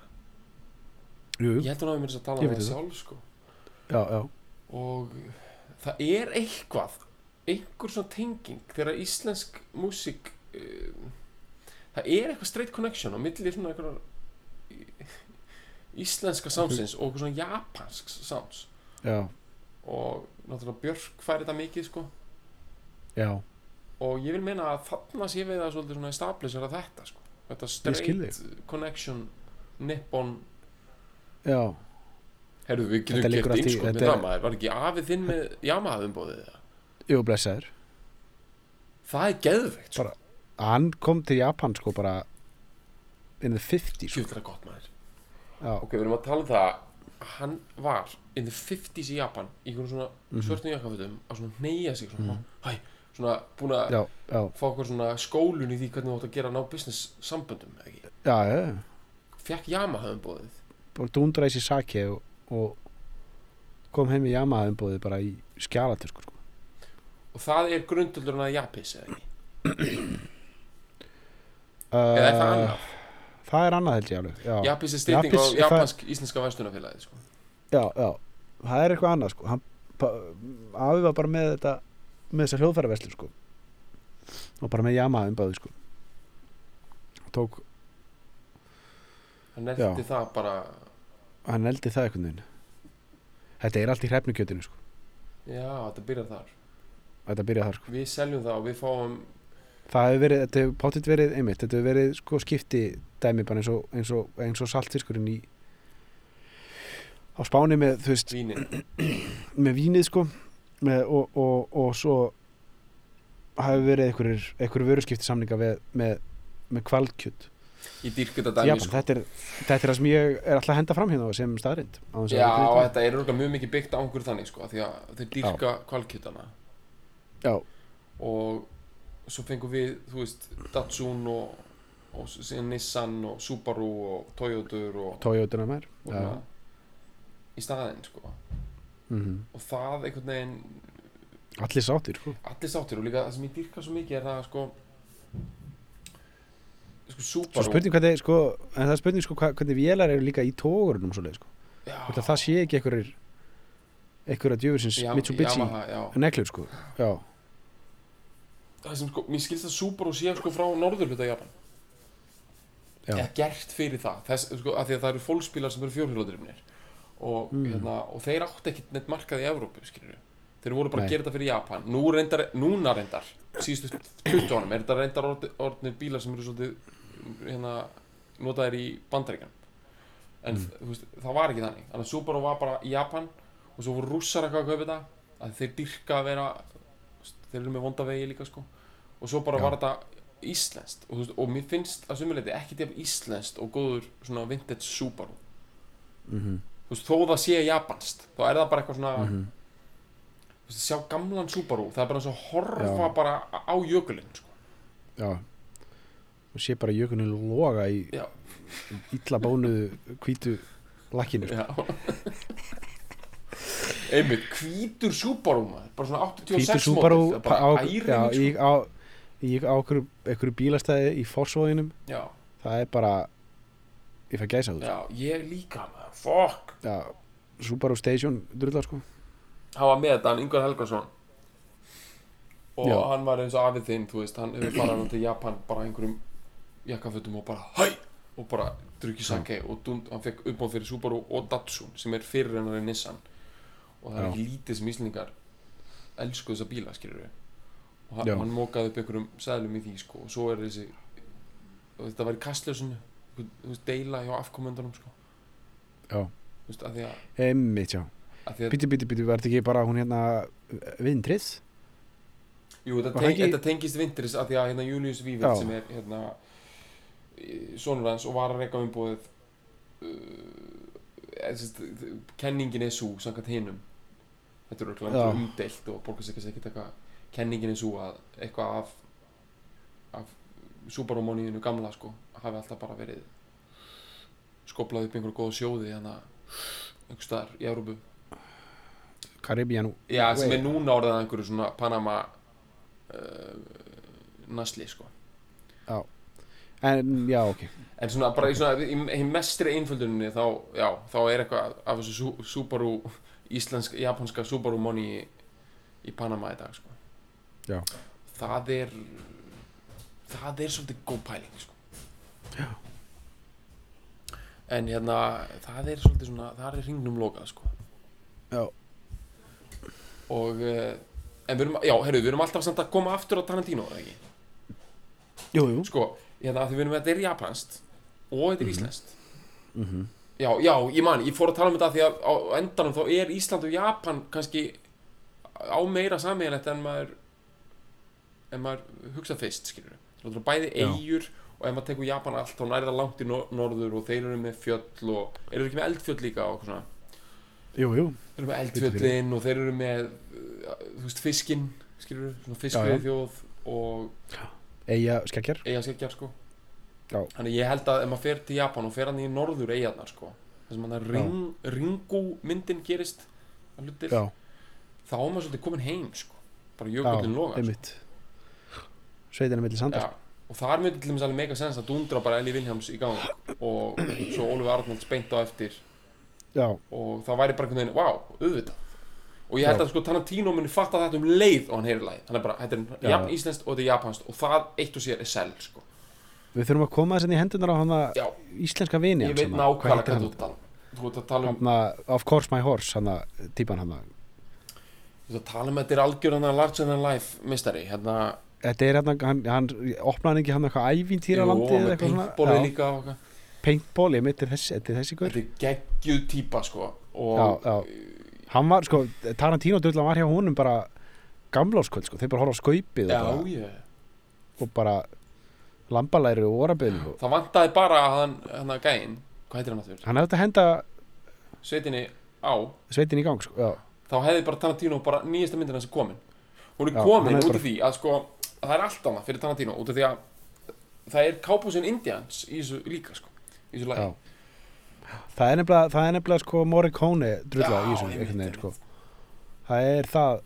Speaker 1: jú,
Speaker 2: ég held hún hafi mér þess að tala
Speaker 1: Ég
Speaker 2: um
Speaker 1: veit
Speaker 2: það
Speaker 1: það.
Speaker 2: sjálf sko
Speaker 1: já, já
Speaker 2: og það er eitthvað einhver svona tenging þegar íslensk músík um, það er eitthvað straight connection á milli svona einhverjar í- íslenska soundsins og einhver svona japansk sounds
Speaker 1: já,
Speaker 2: og náttúrulega Björk fær þetta mikið sko
Speaker 1: já,
Speaker 2: og ég vil meina að þarna sé við það svolítið svona establisher að þetta sko þetta
Speaker 1: skil
Speaker 2: straight connection nippon
Speaker 1: já
Speaker 2: herru við
Speaker 1: Þetta
Speaker 2: getum
Speaker 1: liggur
Speaker 2: gert
Speaker 1: allt í-
Speaker 2: innskot
Speaker 1: þetta
Speaker 2: með
Speaker 1: er-
Speaker 2: það maður var ekki afið þinn með Yamaha umbóðið
Speaker 1: jú, blessaður
Speaker 2: það er geðveikt sko
Speaker 1: Bara- hann kom til Japan sko bara in the 50s sko.
Speaker 2: sjúkla gott maður
Speaker 1: já,
Speaker 2: Ok, við erum að tala um það að hann var in the 50s í Japan í einhverjum svona mm -hmm. svörtum jakkafutum að svona neyja sig svona, hæ, svona búin að
Speaker 1: já, já,
Speaker 2: fá okkur svona skólun í því hvernig þú átt að gera að ná business samböndum, eða ekki?
Speaker 1: já, já, já.
Speaker 2: Fekk Yamaha um bóðið.
Speaker 1: bara dúndra í sér sake og, og kom heim í Yamaha umbúðið bara í skjalatöskur sko.
Speaker 2: Og það er grundullurinn að Japis, eða ekki?
Speaker 1: uh,
Speaker 2: Eða er það annað?
Speaker 1: það er annað held ég alveg já, já.
Speaker 2: Japis er styrning
Speaker 1: Japis,
Speaker 2: á
Speaker 1: það-
Speaker 2: japansk-íslenska vestunafélagið, sko.
Speaker 1: Já, það er eitthvað annað sko. hann, pa, afi var bara með þetta með þessa hljóðfæraverslu sko. og bara með Yamaha umbúðið sko. tók,
Speaker 2: Hann erfti það bara,
Speaker 1: hann eldi það einhvern veginn þetta er allt í hrefnukjötinu sko.
Speaker 2: já, þetta byrjar þar.
Speaker 1: þetta byrjaði þar sko.
Speaker 2: Við seljum það og við fáum,
Speaker 1: það hefur verið, þetta hefur pottitt verið einmitt, þetta hefur verið sko skipti dæmi bara eins og, eins og, eins og saltfiskurinn í á Spáni með, þú veist,
Speaker 2: vínin.
Speaker 1: með vínið sko með, og, og, og svo hafi verið einhverjur, einhverjur vöruskipti samninga með, með, með kvalkjöt
Speaker 2: Ég dýrk þetta
Speaker 1: Japan,
Speaker 2: dæmi, sko.
Speaker 1: þetta, er, þetta er það sem ég er alltaf að henda fram hérna sem staðrind
Speaker 2: Já, og þetta er örgulega mjög mikið byggt á einhverju þannig sko, af því að þeir dýrka kvalkjötana
Speaker 1: já,
Speaker 2: og svo fengum við, þú veist, Datsun og, og síðan Nissan og Subaru og Toyotur og,
Speaker 1: Toyota maður
Speaker 2: og
Speaker 1: já.
Speaker 2: svona í staðinn, sko
Speaker 1: mm
Speaker 2: og það einhvern veginn,
Speaker 1: allir sáttir sko.
Speaker 2: allir sáttir og líka það sem ég dýrka svo mikið er það, sko sko
Speaker 1: svo
Speaker 2: Subaru
Speaker 1: spurning hvernig sko, en það er spurning sko, hva- hvernig vélar eru líka í tógurunum svo leið sko.
Speaker 2: já,
Speaker 1: Hvort að það sé ekki einhverjir einhverja djöfursins
Speaker 2: Yam-
Speaker 1: Mitsubishi
Speaker 2: Yamaha, já.
Speaker 1: neglur sko já,
Speaker 2: það sem sko, mér skilst að Subaru sé sko frá norðurhluta Japan
Speaker 1: Já.
Speaker 2: eða gert fyrir það þess, sko, af því að það eru fólksbílar sem eru fjórhjóladrifnir og,
Speaker 1: Mm.
Speaker 2: hérna, og þeir átti ekkit neitt markað í Evrópu skilur þeir voru bara
Speaker 1: Nei.
Speaker 2: að gera þetta fyrir Japan Nú reyndar, núna reyndar, síðustu 20 ánum er þetta reyndar orð- orðnir bílar sem eru svolítið hérna, notaðir í bandaríkan en
Speaker 1: Mm.
Speaker 2: þú veist, það var ekki þannig þannig að Subaru var bara í Japan og svo voru rússar eitthvað að kaupa þetta að þeir dyrka að vera þú veist, þeir eru með vonda vegi líka sko og svo bara
Speaker 1: Já.
Speaker 2: var þetta íslenskt og, þú veist, og mér finnst að sumuleiti ekki til íslenskt og góður svona vintage Subaru
Speaker 1: mm
Speaker 2: þú veist, þó það sé japanst þá er það bara eitthvað svona
Speaker 1: Mhm.
Speaker 2: þú veist, sjá gamlan Subaru það er bara eins og horfa
Speaker 1: Já.
Speaker 2: bara á jökulinn sko.
Speaker 1: já og sé bara jökunin loga í
Speaker 2: já,
Speaker 1: illa bónuðu hvítu lakkinu sko.
Speaker 2: já einmitt, hvítur Subaru maður bara svona 86
Speaker 1: hvítu
Speaker 2: model,
Speaker 1: Subaru
Speaker 2: það
Speaker 1: á,
Speaker 2: er bara æring
Speaker 1: já,
Speaker 2: sko.
Speaker 1: ég á, ég á okkur, okkur bílastæði í Fossvóðinum
Speaker 2: já,
Speaker 1: það er bara ég fæ gæsa þú
Speaker 2: já, ég líka maður fuck,
Speaker 1: já, Subaru Station drullar sko
Speaker 2: hann var með þetta, hann Ingvar Helgason og
Speaker 1: Já.
Speaker 2: hann var eins og afið þinn, þú veist, hann hefur farið hann til Japan bara einhverjum jakkafötum og bara hæ, og bara drukki sake og dund, hann fekk uppáð fyrir Subaru og Datsun sem er fyrir hennar en Nissan og það er
Speaker 1: Já.
Speaker 2: ekki lítið sem íslendingar elsku þessa bíla, skilur við og hann,
Speaker 1: Já.
Speaker 2: hann mókaði upp einhverjum sæðlum í því, sko, og svo er þessi og þetta var í kastljósinu þú veist, deila hjá afkomendunum, sko
Speaker 1: Já.
Speaker 2: þú veist, að því að,
Speaker 1: einmitt já,
Speaker 2: að, því að
Speaker 1: bíti bíti bíti var þetta ekki bara hún hérna vindrið
Speaker 2: Jú, þetta,
Speaker 1: Var
Speaker 2: teng,
Speaker 1: það ekki-
Speaker 2: þetta tengist vintris af því að hérna, Julius Vívill
Speaker 1: Já.
Speaker 2: sem er hérna, sonur hans og var að reyka umbúðið uh, eða sem sagt, kenningin er svo samkvæmt hinum þetta er
Speaker 1: Já.
Speaker 2: örgulega umdelt og borgar sig ekki eitthvað kenningin er svo að eitthvað af, af súbarómoníinu gamla sko hafi alltaf bara verið skoplað upp í einhverju góða sjóði hérna einhvers staðar í Európu
Speaker 1: Karibian
Speaker 2: Já, sem
Speaker 1: Wait.
Speaker 2: er núna orðið að einhverju svona Panama uh, nasli, sko
Speaker 1: en já ok
Speaker 2: En svona bara í svona, í, í mestri einfölduninni þá, já, þá er eitthvað af þessu Su- Subaru, íslensk, japanska Subaru money í, í Panama í dag, sko
Speaker 1: Já.
Speaker 2: Það er, það er svolítið góð pæling, sko
Speaker 1: Já.
Speaker 2: En hérna, það er svolítið svona, það er hringnum lokað, sko
Speaker 1: já,
Speaker 2: Og, uh, en við erum, já, herru, við erum alltaf samt að koma aftur á Tarantino, eða ekki?
Speaker 1: jú, jú.
Speaker 2: sko, hérna að því við erum að þetta er japanskt og þetta er
Speaker 1: Mhm.
Speaker 2: íslenskt
Speaker 1: Mm
Speaker 2: já, já, ég man, ég fór að tala um þetta af því að á endanum þá er Ísland og Japan kannski á meira sammeðilegt en maður en maður hugsa fyrst, skilur við bæði
Speaker 1: Já.
Speaker 2: eigur og ef maður tekur Japan allt þá nærða langt í nor norður og þeir eru með fjöll og eru þeir ekki með eldfjöll líka og eitthvað svona
Speaker 1: jú, jú.
Speaker 2: Þeir eru með
Speaker 1: Bíddu, bíddu.
Speaker 2: eldfjöllin og þeir eru með uh, þú veist, fiskinn, skilur svona fiskveið þjóð og
Speaker 1: eiga skekkjar
Speaker 2: eiga skeggjar sko
Speaker 1: Já.
Speaker 2: Þannig ég held að ef maður fer til Japan og fer hann í norður eigarnar sko þess að
Speaker 1: Já.
Speaker 2: ring, ringú myndin gerist að hlutir,
Speaker 1: já,
Speaker 2: þá er maður svolítið komin heim sko bara jökullin logar sko.
Speaker 1: einmitt sveitina milli sandar
Speaker 2: Já, og þar myndi til dæmis alveg mega sens að dundra bara Eli Vilhjáms í gang og svo Ólfi Arnalds beint á eftir
Speaker 1: já,
Speaker 2: og það væri bara einhvern veginn, vá, auðvitað og ég held
Speaker 1: Já.
Speaker 2: að sko Tarantino muni fatta þetta um leið og hann heyri lagið, hann er bara, þetta
Speaker 1: Já.
Speaker 2: er jafn íslenskt og þetta er japanskt og það eitt og sér er sel sko,
Speaker 1: við þurfum að koma þess að í hendunar á hann að
Speaker 2: já,
Speaker 1: íslenska vini
Speaker 2: ég
Speaker 1: hans
Speaker 2: veit
Speaker 1: hana.
Speaker 2: nákvæmlega
Speaker 1: heitir hann?
Speaker 2: hvað þú tala um. þú ert að tala um
Speaker 1: Hanna, of course my horse hana, típan hana.
Speaker 2: Þú veist að tala um að þetta er algjörðan að larger than life mistari hérna
Speaker 1: þetta er hérna, hann, hann opnaði hann ekki hann eitthvað ævintýralandi
Speaker 2: jú,
Speaker 1: eða
Speaker 2: með
Speaker 1: eitthvað svona?
Speaker 2: paintballið
Speaker 1: Já,
Speaker 2: líka og eitthvað.
Speaker 1: paintball, ég mitt er þessi, þetta er þessi gaur
Speaker 2: þetta er geggjuð típa sko og
Speaker 1: Já, já. hann var, sko, Tarantino drullan var hjá honum bara gamláskvöld, sko, þeir bara horfa á skaupið og, bara,
Speaker 2: já, já.
Speaker 1: og bara lambalæri og oraböðinu
Speaker 2: það vantaði bara að hann hann að gæinn, hvað heitir hann að
Speaker 1: hann hefði þetta henda
Speaker 2: þurr sveitinni á,
Speaker 1: sveitin í gang, sko já,
Speaker 2: þá hefði bara Tarantino bara nýjasta myndina sem komin hún er
Speaker 1: Já, hann
Speaker 2: komin
Speaker 1: hefði
Speaker 2: út
Speaker 1: bara-
Speaker 2: í því að sko það er allt annað fyrir Tarantino út af því að það er kápúsin Indians í þessu líka sko, í þessu lagi
Speaker 1: Já. það er nefnilega, það er nefnilega sko Morricone drulla
Speaker 2: Já,
Speaker 1: í þessu
Speaker 2: einmitt,
Speaker 1: einhvern veginn
Speaker 2: einmitt.
Speaker 1: sko. það er það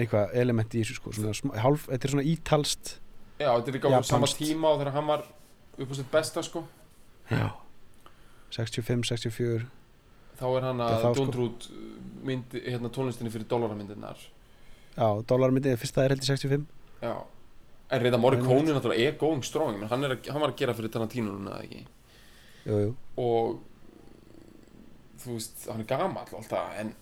Speaker 1: eitthvað element í þessu sko svona, smá- hálf, þetta er svona ítalst
Speaker 2: Já, þetta er líka á
Speaker 1: Japanskt.
Speaker 2: sama tíma og þegar hann var upp á sitt besta sko
Speaker 1: 65, 64
Speaker 2: þá er hann
Speaker 1: Það
Speaker 2: að
Speaker 1: er þá, sko.
Speaker 2: Don't Root eh, myndi, hérna tónlistinni fyrir dólaramyndirnar
Speaker 1: já, dólarmyndið, fyrsta er heldur 65
Speaker 2: Já En reyða Morricone náttúrulega er going strong menn hann, er, að- hann var að gera fyrir Tarantino núna eða ekki
Speaker 1: jú, jú.
Speaker 2: og þú veist, hann er gamall alltaf en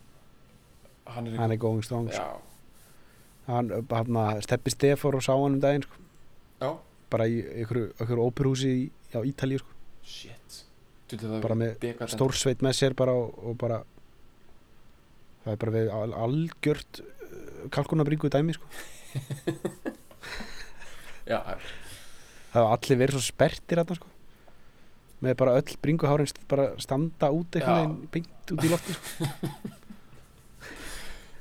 Speaker 2: hann er
Speaker 1: hann er going strong sko.
Speaker 2: já,
Speaker 1: hann, hann steppi Stefór og sá hann um daginn sko.
Speaker 2: já,
Speaker 1: bara í einhverju, einhverju óperhúsi í, á Ítalíu sko.
Speaker 2: shit Dullu, það
Speaker 1: bara með
Speaker 2: dekadent.
Speaker 1: stórsveit með sér bara og, og bara það er bara við al- algjört kalkunabringu dæmi sko.
Speaker 2: já,
Speaker 1: það hafa allir verið svo sperrtir þarna sko með bara öll bringuhárin st- bara standa út
Speaker 2: Já.
Speaker 1: eitthvað en beint út í lofti sko.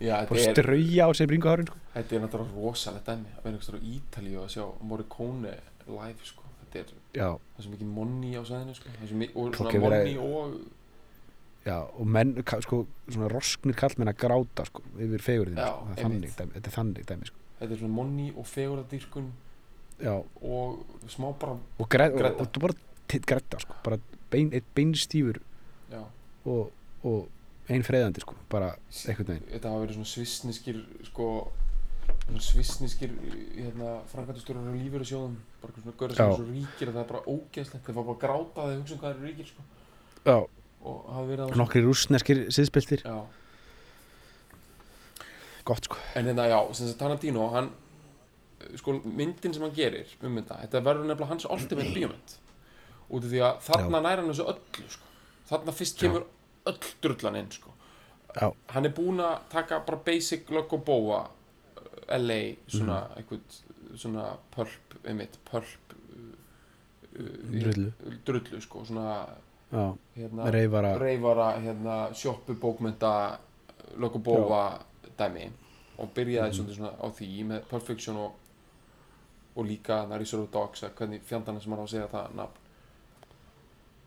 Speaker 2: já þetta,
Speaker 1: bara
Speaker 2: er,
Speaker 1: strauja á sér bringuhárin sko.
Speaker 2: þetta er náttúrulega rosalegt dæmi að vera einhverstur á Ítalíu og að sjá Morricone live sko. þetta er
Speaker 1: já,
Speaker 2: það er svo mikið monni á sæðinu sko. það er svo mikið, og
Speaker 1: Fólk
Speaker 2: svona
Speaker 1: er verið-
Speaker 2: monni og
Speaker 1: já, og menn ka- sko, svona rosknir kallmenn að gráta sko, yfir fegurðin
Speaker 2: Já,
Speaker 1: sko. Það er
Speaker 2: einmitt.
Speaker 1: þannig dæmi, þetta er þannig dæmi sko.
Speaker 2: þetta er svona monni og fegurðardýrkun
Speaker 1: já,
Speaker 2: og smá bara
Speaker 1: og, græ, og,
Speaker 2: Grædda.
Speaker 1: og, og bara t- grædda sko. bara bein, eitt beinstífur
Speaker 2: já,
Speaker 1: og, og ein freðandi sko. bara einhvern veginn
Speaker 2: þetta hafa verið svona svissniskir sko svona svissniskir hérna, framkvæmtastjórar og lífur í sjóðum bara eitthvað svona görður sem
Speaker 1: Já.
Speaker 2: er svo ríkir að það er bara ógeðslegt þeir fá bara að gráta að þeir hugsa um hvað þeir eru ríkir sko.
Speaker 1: já.
Speaker 2: og hafa verið að
Speaker 1: nokkri rúsneskir siðspiltir
Speaker 2: já.
Speaker 1: gott sko
Speaker 2: en hérna já, sem sagt Tarantino hann, sko myndin sem hann gerir um þetta, þetta verður nefnilega hans ultimate bíómynd út af því að þarna nær hann þessu öllu sko. þarna fyrst
Speaker 1: Já.
Speaker 2: kemur öll drullan inn sko.
Speaker 1: Já.
Speaker 2: hann er búinn að taka bara basic lögg og bóa uh, LA
Speaker 1: Mhm.
Speaker 2: svona mm. einhvern svona pulp, einmitt pulp uh, uh,
Speaker 1: Drullu.
Speaker 2: drullu sko, svona
Speaker 1: já,
Speaker 2: hérna,
Speaker 1: reyfara
Speaker 2: reyfara hérna, sjoppu bókmynda lokobófa dæmi og byrjaði svolítið svona á því með Perfection og, og líka þarna Reservoir Dogs að hvernig fjandana sem hann á að segja það nafn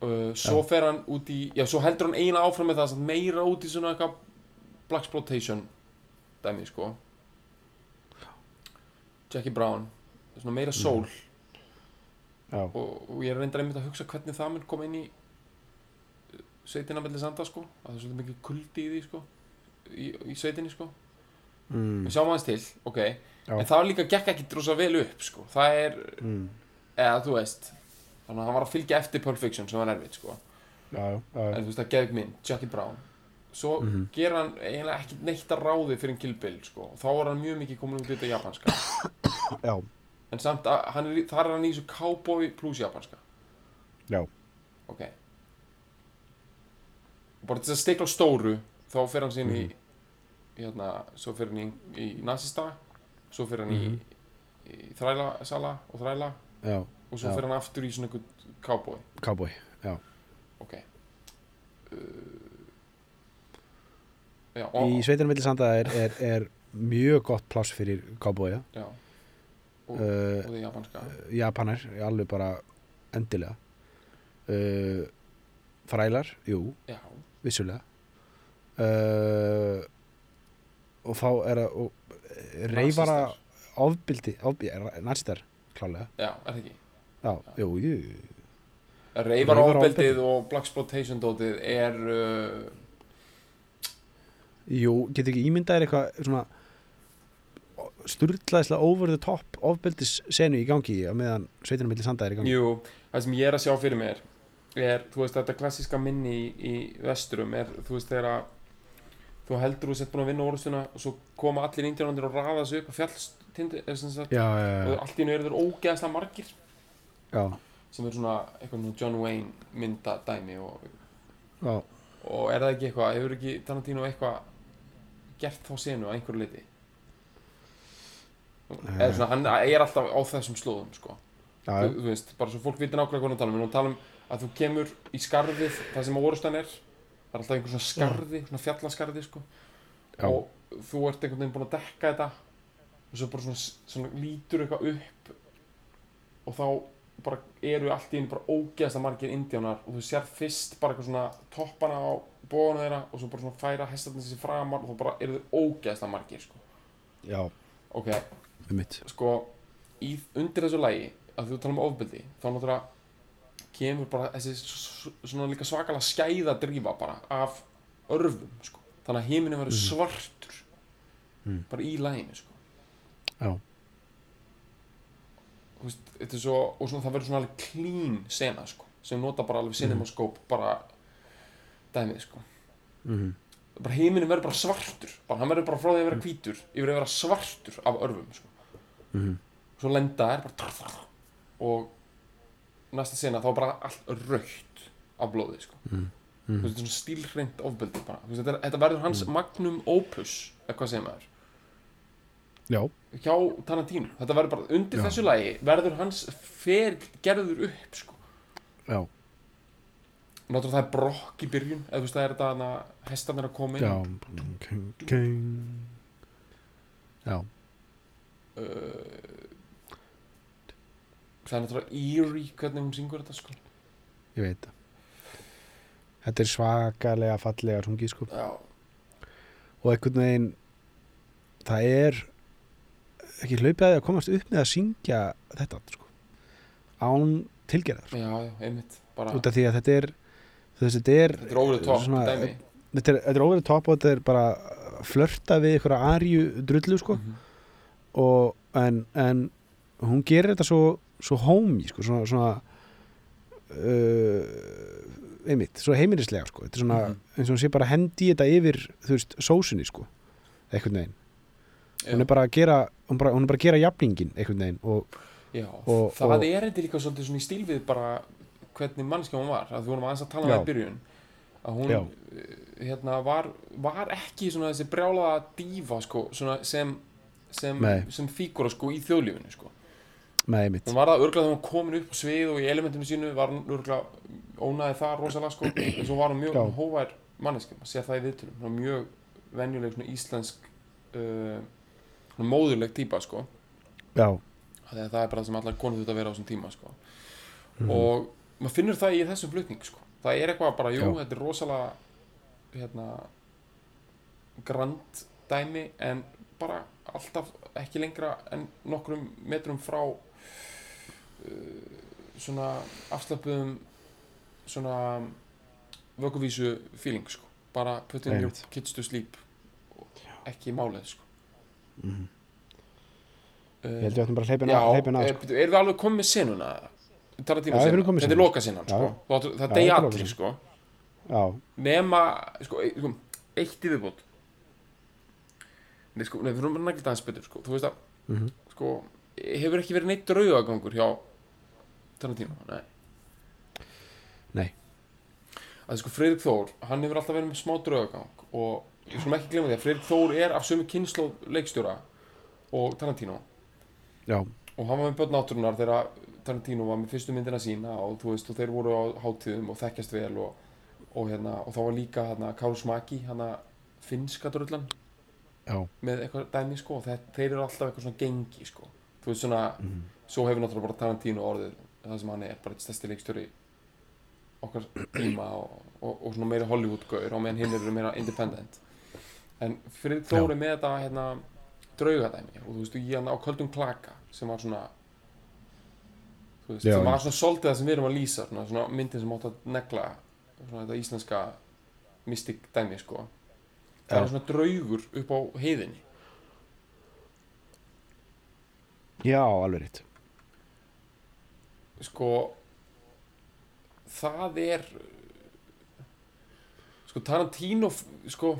Speaker 2: uh, svo fer hann út í já, svo heldur hann eina áfram með það samt meira út í svona eitthvað Black Exploitation dæmi sko Jackie Brown svona meira sól
Speaker 1: já,
Speaker 2: og, og ég er reyndar einmitt að hugsa hvernig það mun koma inn í uh, sveitina mellir sanda sko að það er svolítið mikið kuldi í því sko í, í sveitinni sko
Speaker 1: mm,
Speaker 2: við sjáum aðeins til, ok
Speaker 1: Já.
Speaker 2: en það líka gekk ekki drosa vel upp sko það er,
Speaker 1: mm,
Speaker 2: eða þú veist þannig að hann var að fylgja eftir Pulp Fiction sem var erfitt sko
Speaker 1: já, já, já,
Speaker 2: en þú veist að geðug minn, Jackie Brown svo mm
Speaker 1: Mhm.
Speaker 2: ger hann eiginlega ekki neitt að ráði fyrir en Kill Bill sko og þá er hann mjög mikið komin um hluta japanska
Speaker 1: já,
Speaker 2: en samt að hann er, í- þar er hann í þessu cowboy plus japanska
Speaker 1: já.
Speaker 2: ok og bara til þess að stikla á stóru þá fer hann síðan
Speaker 1: Mhm.
Speaker 2: í hérna, svo fer hann í, í nazista svo fer hann
Speaker 1: Mhm.
Speaker 2: í, í þrælasala og þræla
Speaker 1: já.
Speaker 2: og svo
Speaker 1: Já.
Speaker 2: fer hann aftur í svona einhvern cowboy
Speaker 1: cowboy
Speaker 2: ok uh, já, og,
Speaker 1: í sveitinu milli sanda er, er, er mjög gott pláss fyrir cowboya
Speaker 2: já, og,
Speaker 1: uh,
Speaker 2: og því japanska
Speaker 1: japanar, alveg bara endilega uh, frælar, jú,
Speaker 2: já,
Speaker 1: vissulega uh, og þá er það og eh, reyfara
Speaker 2: Nasistar.
Speaker 1: ofbildi, of, næstar klálega,
Speaker 2: já, er það ekki
Speaker 1: já, jú, jú jú.
Speaker 2: Reifar
Speaker 1: Reyfaráfbeldið.
Speaker 2: ofbeldið og Black Exploitation dótið er uh,
Speaker 1: Jú, getur ekki ímyndaðir eitthvað svona sturlaðislega over the top ofbeldis senu í gangi á meðan sveitinu milli sanda er í gangi
Speaker 2: Jú, það sem ég er að sjá fyrir mér er, þú veist, þetta klassíska minni í, í vesturum er, þú veist, þegar að þú heldur þú sett búin að vinna orðstuna og svo koma allir indjónandir og raða þessu upp á fjallstindu, er sem sagt
Speaker 1: Já,
Speaker 2: og
Speaker 1: já,
Speaker 2: allt í hennu eru þeir ógeðslega margir
Speaker 1: já,
Speaker 2: sem er svona eitthvað svona John Wayne mynda dæmi og,
Speaker 1: já,
Speaker 2: og er það ekki eitthvað, hefur ekki Tarantino eitthvað gert þá senu að einhverju liti eða svona, hann er alltaf á þessum slóðum, sko
Speaker 1: já, já,
Speaker 2: þú, þú veist, bara svo fólk viti nákvæmlega hvað hann tala um, við erum að tala um að þú kemur í skarðið, það sem orustan er það er alltaf einhver svona skarði, svona fjallaskarði sko,
Speaker 1: já,
Speaker 2: og þú ert einhvern veginn búinn að dekka þetta og svo bara svona, svona lítur eitthvað upp og þá bara eru allt í einu bara ógeðasta margir indjánar og þú sér fyrst bara eitthvað svona toppana á bóðana þeirra og svo bara svona færa hestarnir sér framar og þá bara eru þau ógeðasta margir sko.
Speaker 1: já,
Speaker 2: ok,
Speaker 1: við mitt
Speaker 2: sko í, undir þessu lægi að þú tala um ofbeldi þá náttúrulega kemur bara þessi s- s- svona líka svakalega skæða drífa bara af örfum sko. þannig að himinu verður svartur
Speaker 1: Mm.
Speaker 2: bara í læginu sko.
Speaker 1: Já.
Speaker 2: Þú veist, þetta er svo, og svona, það verður svona alveg clean sena sko, sem nota bara alveg cinemascope bara dæmið sko.
Speaker 1: mm.
Speaker 2: bara himinu verður bara svartur bara, hann verður bara frá því að vera hvítur yfir að vera svartur af örfum sko
Speaker 1: Mm.
Speaker 2: svo lenda þær bara trr, trr, og næsta sena þá er bara allt raukt af blóði sko.
Speaker 1: Mm.
Speaker 2: Þú
Speaker 1: Mm.
Speaker 2: veist, þetta er svona stílhreint ofbeldi bara. Þú veist, þetta, er- þetta verður hans magnum opus eitthvað segir maður
Speaker 1: já,
Speaker 2: hjá Tarantino, þetta verður bara undir
Speaker 1: Já.
Speaker 2: þessu lagi verður hans ferill gerður upp sko.
Speaker 1: já,
Speaker 2: náttúrulega það er brokk í byrjun eða þú veist það er þetta að hestarnir að koma inn
Speaker 1: já King, king. já,
Speaker 2: uh, það er náttúrulega eerie hvernig hún syngur þetta sko.
Speaker 1: ég veit það þetta er svakalega fallega sungið sko
Speaker 2: já,
Speaker 1: og einhvern veginn það er ekki hlaupið að því að komast upp með að syngja þetta sko án tilgerðar sko.
Speaker 2: já, já, einmitt bara,
Speaker 1: út af því að þetta er þessi, þetta er,
Speaker 2: Ah. þetta er óverið tók
Speaker 1: svona-
Speaker 2: dæmi
Speaker 1: þetta er, þetta er overið topp og þetta er bara að flörta við ykkur arju drullu sko
Speaker 2: Mhm.
Speaker 1: og, en, en hún gerir þetta svo, svo homey sko, svona, svona uh, einmitt, svo heimilislega sko. þetta er svona,
Speaker 2: Mhm.
Speaker 1: eins og hún sé bara að hendi þetta yfir, þú veist, sósunni sko, einhvern veginn, hún er bara að gera hún, bara, hún er bara að gera jafningin einhvern veginn og
Speaker 2: Já,
Speaker 1: Og-
Speaker 2: það
Speaker 1: og-
Speaker 2: er eitthvað líka svolítið svona í stíl við bara hvernig mannskja hún var, að þú vorum aðeins að tala um
Speaker 1: Já.
Speaker 2: það í byrjun að hún
Speaker 1: Já.
Speaker 2: eh, hérna, var, var ekki svona þessi brjálaða dífa sko, svona sem sem,
Speaker 1: Nei.
Speaker 2: sem fígura sko í þjóðlífinu sko.
Speaker 1: með einmitt,
Speaker 2: hún var það örglað þegar hún komin upp á svið og í elementinu sínu var hún örglað ónaði það rosalega sko en svo var hún mjög
Speaker 1: Já.
Speaker 2: hóvær manneskja, maður sé það í viðtunum hún var mjög venjuleg svona íslensk uh, svona móðurleg típa sko
Speaker 1: já
Speaker 2: Þegar það er bara það sem allar konur þetta að vera á þessum tíma sko.
Speaker 1: Mhm.
Speaker 2: og maður finnur það í þessum flutning sko. það er eitthvað bara, jú,
Speaker 1: Já.
Speaker 2: þetta er rosalega hérna grand dæmi en bara alltaf ekki lengra en nokkrum metrum frá uh, svona afslöpuðum svona vökuvísu feeling sko. bara put in your
Speaker 1: Einmitt.
Speaker 2: kids to sleep og ekki málið sko.
Speaker 1: Mhm.
Speaker 2: uh,
Speaker 1: ég held ég ætlum bara að hleypina,
Speaker 2: Já,
Speaker 1: hleypina
Speaker 2: er,
Speaker 1: sko.
Speaker 2: byrju, erum við alveg komið með senuna? Tala
Speaker 1: Já,
Speaker 2: tíma
Speaker 1: við erum
Speaker 2: senuna,
Speaker 1: komið með
Speaker 2: þetta er
Speaker 1: senuna.
Speaker 2: loka senan sko.
Speaker 1: Já, Já,
Speaker 2: Það, það degi
Speaker 1: þetta er
Speaker 2: allir
Speaker 1: lokasenan.
Speaker 2: sko.
Speaker 1: já,
Speaker 2: Nema, sko, e- sko eitt í viðbót Nei, sko, nei, við erum að nagla aðeins betur sko. Þú veist að,
Speaker 1: Mhm.
Speaker 2: sko, hefur ekki verið neitt draugagangur hjá Tala tíma, nei
Speaker 1: Nei.
Speaker 2: Að sko, Freyrik Þór, hann hefur alltaf verið með smá draugagang og við skulum ekki glemma því að Freyrik Þór er af sömu kynnslóð leikstjóra og Tarantino
Speaker 1: já,
Speaker 2: og hann var með börn náttúrunar þegar Tarantino var með fyrstu myndina sína og þú veist og þeir voru á hátíðum og þekkjast vel og, og hérna og þá var líka hérna Kárus Maki hérna finnska drullan
Speaker 1: já
Speaker 2: með eitthvað dæmi sko og þeir, þeir eru alltaf eitthvað svona gengi sko þú veist svona
Speaker 1: Mhm.
Speaker 2: svo hefur náttúrulega bara Tarantino orðið það sem hann er bara eitt stærsti leikstjóri okkar tíma og, og, og svona meira Hollywood-gaur og meðan hinn eru meira independent en fyrir þóri með þetta hérna draugadæmi og þú veist ég hann á köldum klaka sem var svona þú veist,
Speaker 1: Já,
Speaker 2: sem var
Speaker 1: einmitt.
Speaker 2: svona svolítið það sem við erum að lýsa svona, svona myndin sem átt að negla svona þetta íslenska mystik dæmi sko það
Speaker 1: Já.
Speaker 2: er svona draugur upp á heiðinni
Speaker 1: já, alveg rétt
Speaker 2: sko það er sko Tarantino sko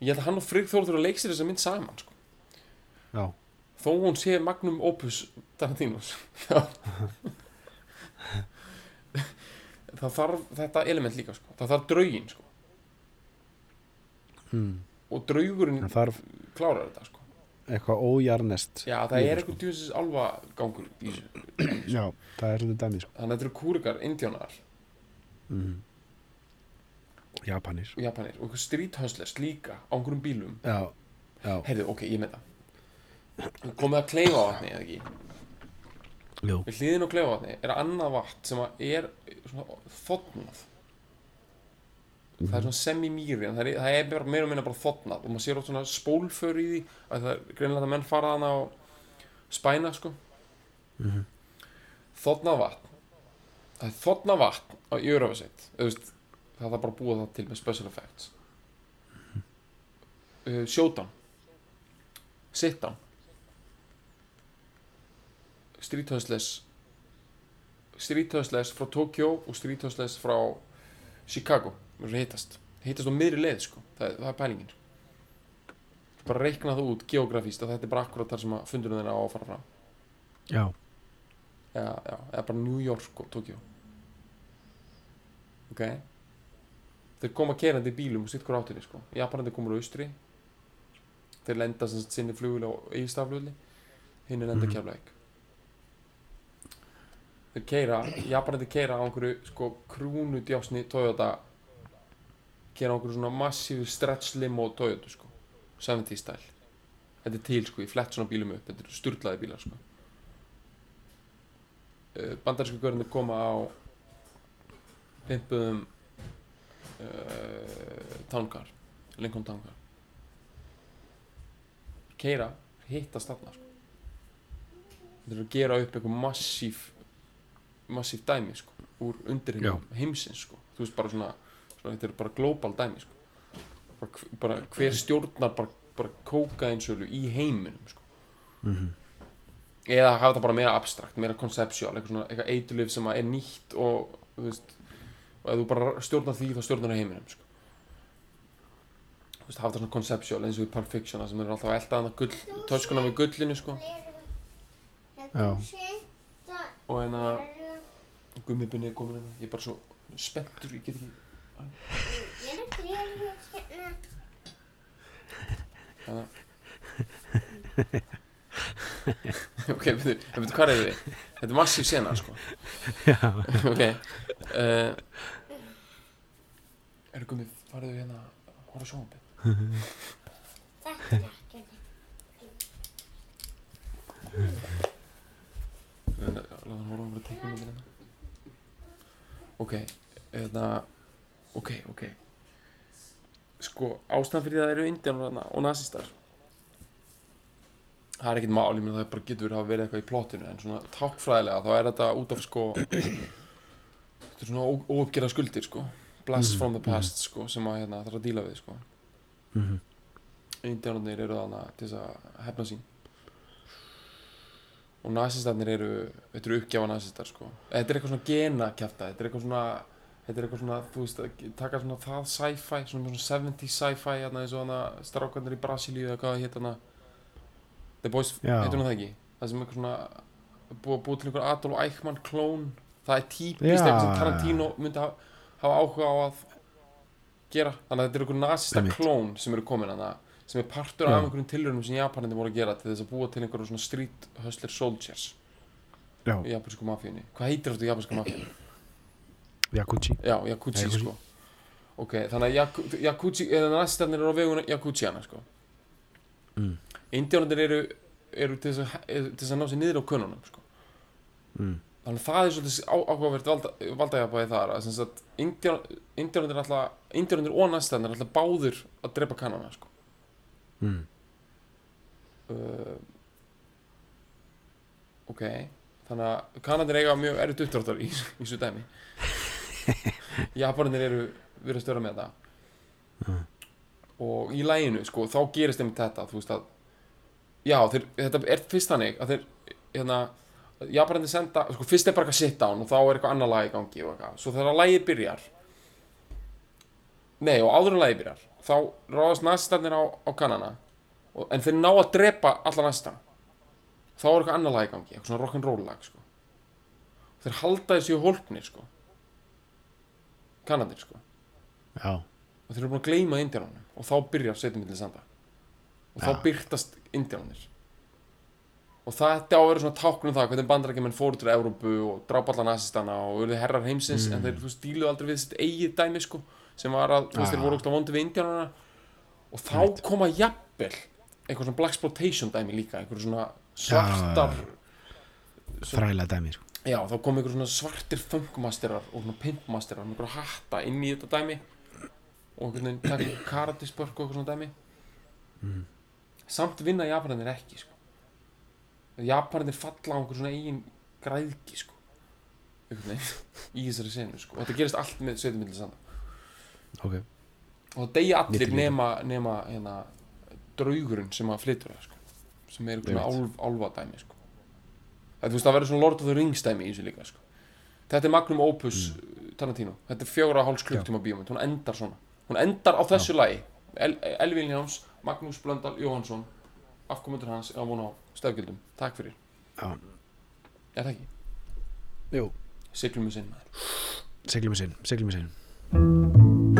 Speaker 2: ég held að hann og Frigþór þurfa að leiksir þessa mynd saman sko.
Speaker 1: já,
Speaker 2: þó hún sé magnum opus Tarantinos Já. það þarf þetta element líka sko. það þarf draugin sko.
Speaker 1: mm.
Speaker 2: og draugurinn
Speaker 1: það þarf
Speaker 2: klárar þetta sko.
Speaker 1: eitthvað ójarnest
Speaker 2: Já, það
Speaker 1: Líka,
Speaker 2: er
Speaker 1: sko.
Speaker 2: eitthvað djúsins alvagangur í þessu
Speaker 1: já, það er svolítið dæmi sko.
Speaker 2: þannig að þetta eru kúrikar, indjánar
Speaker 1: mm. Japanir
Speaker 2: og japanir og eitthvað street hustlers líka á einhverjum bílum
Speaker 1: já, já,
Speaker 2: Heyrðu, ok, ég með það. komið að kleifa vatni eða ekki
Speaker 1: Jú.
Speaker 2: við hliðin á kleifa vatni er annað vatn sem að er svona þotnað það er svona semi-mýri en það er, það er bara, meira og minna bara þotnað og maður sér oft svona spólför í því að það er greinlega að menn fara þarna á spæna sko þotnað vatn það er þotnað vatn á Eurovaseit það er bara að búa það til með special effects uh, showdown sitdown street hustlers street hustlers frá Tokyo og street hustlers frá Chicago Þeir hittast, hittast á miðri leið sko. það, það er pælingin bara reikna það út geografíst að þetta er bara akkurat þar sem að fundurinn þeirra á að fara fram
Speaker 1: Já.
Speaker 2: eða, já, eða bara New York og Tokyo ok þeir koma kerandi í bílum og sitt hver áttinni sko Japanandi komur á austri þeir lenda sem sagt sinni flugul á eigistaflöðli hinn er lenda mm. keflaug þeir keira Japanandi keira á einhverju sko krúnu djásni Toyota keira á einhverju svona massífu stretch limo Toyota sko 70 stæl þetta er til sko, ég flett svona bílum upp þetta eru sturlaði bílar sko Eh, bandarísku görðinni koma á pimpuðum uh, tángar Lincoln tángar keira hittast þarna sko. þeir eru að gera upp eitthvað massíf massíf dæmi sko, úr undirheimum heimsins sko. þú veist bara svona, svona þetta eru bara global dæmi sko. bara, hv- bara hver stjórnar bara, bara kókaðinsölu í heiminum sko eða hafa það bara meira abstrakt, meira koncepsjál eitthvað svona, eitthvað eiturlif sem að er nýtt og þú veist, og ef þú bara stjórnar því þá stjórnar það heiminum sko. þú veist, hafa það svona koncepsjál eins og í Pulp Fiction þar sem er alltaf að elda hana gull, töskuna við gullinu sko
Speaker 1: Já.
Speaker 2: og en að gummibinni er komin hérna, ég er bara svo spenntur, ég get ekki hérna ok, veitu, veitu, hvað er þið? Þetta er massíf sena, sko
Speaker 1: Já.
Speaker 2: ok uh, Eru gummi, farðu hérna að horfa sjónpi Láða hann horfa um að tekna mér hérna Ok, hérna Ok, ok Sko, ástæðan fyrir því að það eru indjánar þarna og nazistar Það er ekkert mál, ég meina það bara getur hafa verið eitthvað í plottinu en svona tákfræðilega þá er þetta út af sko þetta er svona óuppgerða skuldir sko blast from the past sko sem að hérna þarf að díla við sko
Speaker 1: Mhm.
Speaker 2: Indiánarnir eru þarna til þess að hefna sín og nazistarnir eru þetta eru uppgjafa nazistar sko þetta er eitthvað svona genakjafta þetta er eitthvað svona þetta er eitthvað svona þú veist að taka svona það sci-fi svona, svona 70 sci-fi hérna eins og hana strákarnir í Brasilíu eða hvað það hétt hana The Boys
Speaker 1: Já.
Speaker 2: heitur hún það ekki það sem eitthvað svona búið að búið til einhver Adolf Eichmann klón það er típist
Speaker 1: Já.
Speaker 2: eitthvað sem Tarantino myndi hafa, hafa áhuga á að gera þannig að þetta er einhver nazista
Speaker 1: Einmitt.
Speaker 2: klón sem eru komin hana sem er partur
Speaker 1: Já.
Speaker 2: af einhverjum tilraunum sem Japanandi voru að gera til þess að búa til einhverjum svona street hustler soldiers
Speaker 1: Já.
Speaker 2: í japansku mafíunni hvað heitir þetta í japansku mafíunni?
Speaker 1: Jakuchi.
Speaker 2: já, Yakuji
Speaker 1: Yakuji.
Speaker 2: sko ok, þannig að Yaku- Yakuji eða nazistarnir eru á veguna Yakujiana sko
Speaker 1: Mm.
Speaker 2: Indjónarnir eru, eru til, þess að, eru til þess að ná sér niður á kunnunum sko
Speaker 1: Mm.
Speaker 2: þannig að það er svolítið á- áhugavert valda, valdægjabæði þar að sem sagt indjónundir alltaf indjónundir og næstæðnir alltaf báður að drepa kannana sko
Speaker 1: Mm.
Speaker 2: uh, ok þannig að kannandir eiga mjög erut uppdráttar í, í svo dæmi japanir eru verið að störa með það og í læginu sko þá gerist einmitt þetta þú veist að já þeir, þetta er fyrst þannig að þeir hérna japanir senda sko fyrst er bara eitthvað sit down og þá er eitthvað annað lag í gangi og eitthvað svo þegar lagið byrjar nei og áður en lagið byrjar þá ráðast næstarnir á, á kannana og, en þeir ná að drepa alla næsta þá er eitthvað annað lag í gangi eitthvað svona rock'n'roll lag sko. þeir halda þessi hólpnir sko. kannadir sko.
Speaker 1: Já.
Speaker 2: og þeir eru búin að gleyma indjánunum og þá byrjar setjumillin sanda og þá
Speaker 1: Já.
Speaker 2: byrtast indjánunir og þetta á að vera svona táknum það hvernig bandarækjumenn fóru til Evrópu og drápa alla nazistana og auðvitað herrar heimsins en þeir þú stílu aldrei við sitt eigið dæmi sko, sem var að þú veist,
Speaker 1: Já.
Speaker 2: þeir voru okkur vondi við indjánuna og þá koma jafnvel eitthvað svona blaxploitation dæmi líka einhver svona svartar
Speaker 1: þræla dæmi sko.
Speaker 2: já, þá kom einhver svona svartir funkmasterar og svona pimpmasterar með einhverja hatta inn í þetta dæmi og einhvern veginn taka karatisbörk og eitthvað svona dæmi samt vinna japanarnir ekki sko. japanarnir falla á einhver svona eigin græðki sko. einhvern veginn í þessari senu sko. og þetta gerist allt með sveitumillisanda
Speaker 1: ok,
Speaker 2: og það deyja allir
Speaker 1: Millilífi.
Speaker 2: nema, nema hérna, draugurinn sem að flytur það sko. sem er einhvern
Speaker 1: Einmitt.
Speaker 2: álf, álfadæmi sko. það, þú veist, það verður svona Lord of the Rings dæmi í þessu líka sko. þetta er Magnum Opus
Speaker 1: Mm.
Speaker 2: eh, Tarantino þetta er fjóra og hálfs klukktíma bíómynd hún endar svona, hún endar á þessu lagi El, Elvin Hjáms, Magnús Blöndal Jóhansson, afkomendur hans á vona á stefgjöldum, takk fyrir
Speaker 1: Já.
Speaker 2: er það ekki,
Speaker 1: jú,
Speaker 2: siglum við sinna
Speaker 1: seglum við sinn seglum við sinn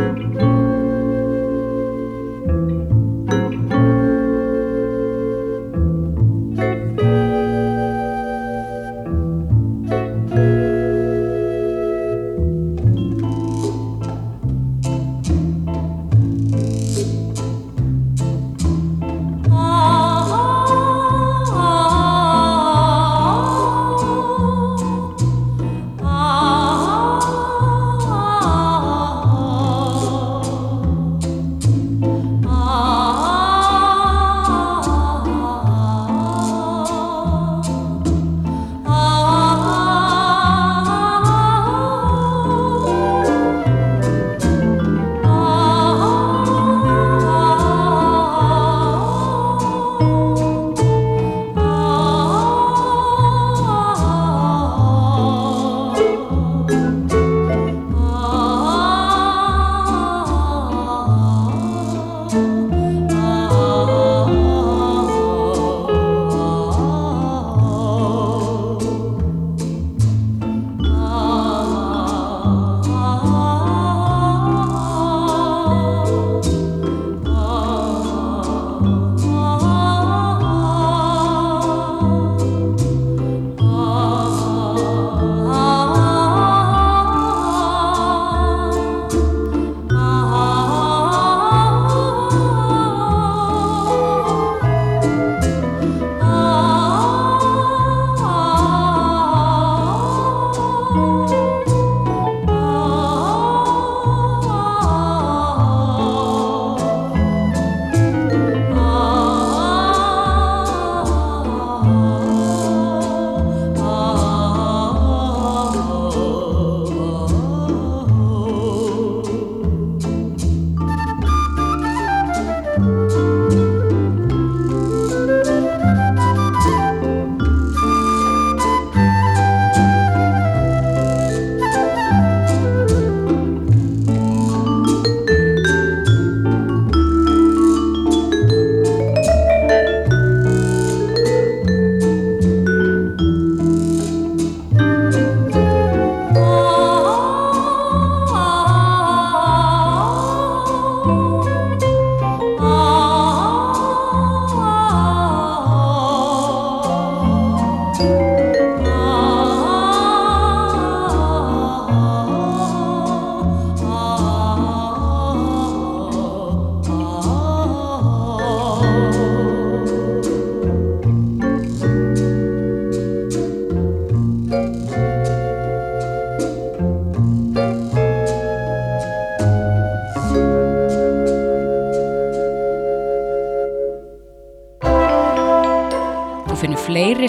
Speaker 3: Þú finnur fleiri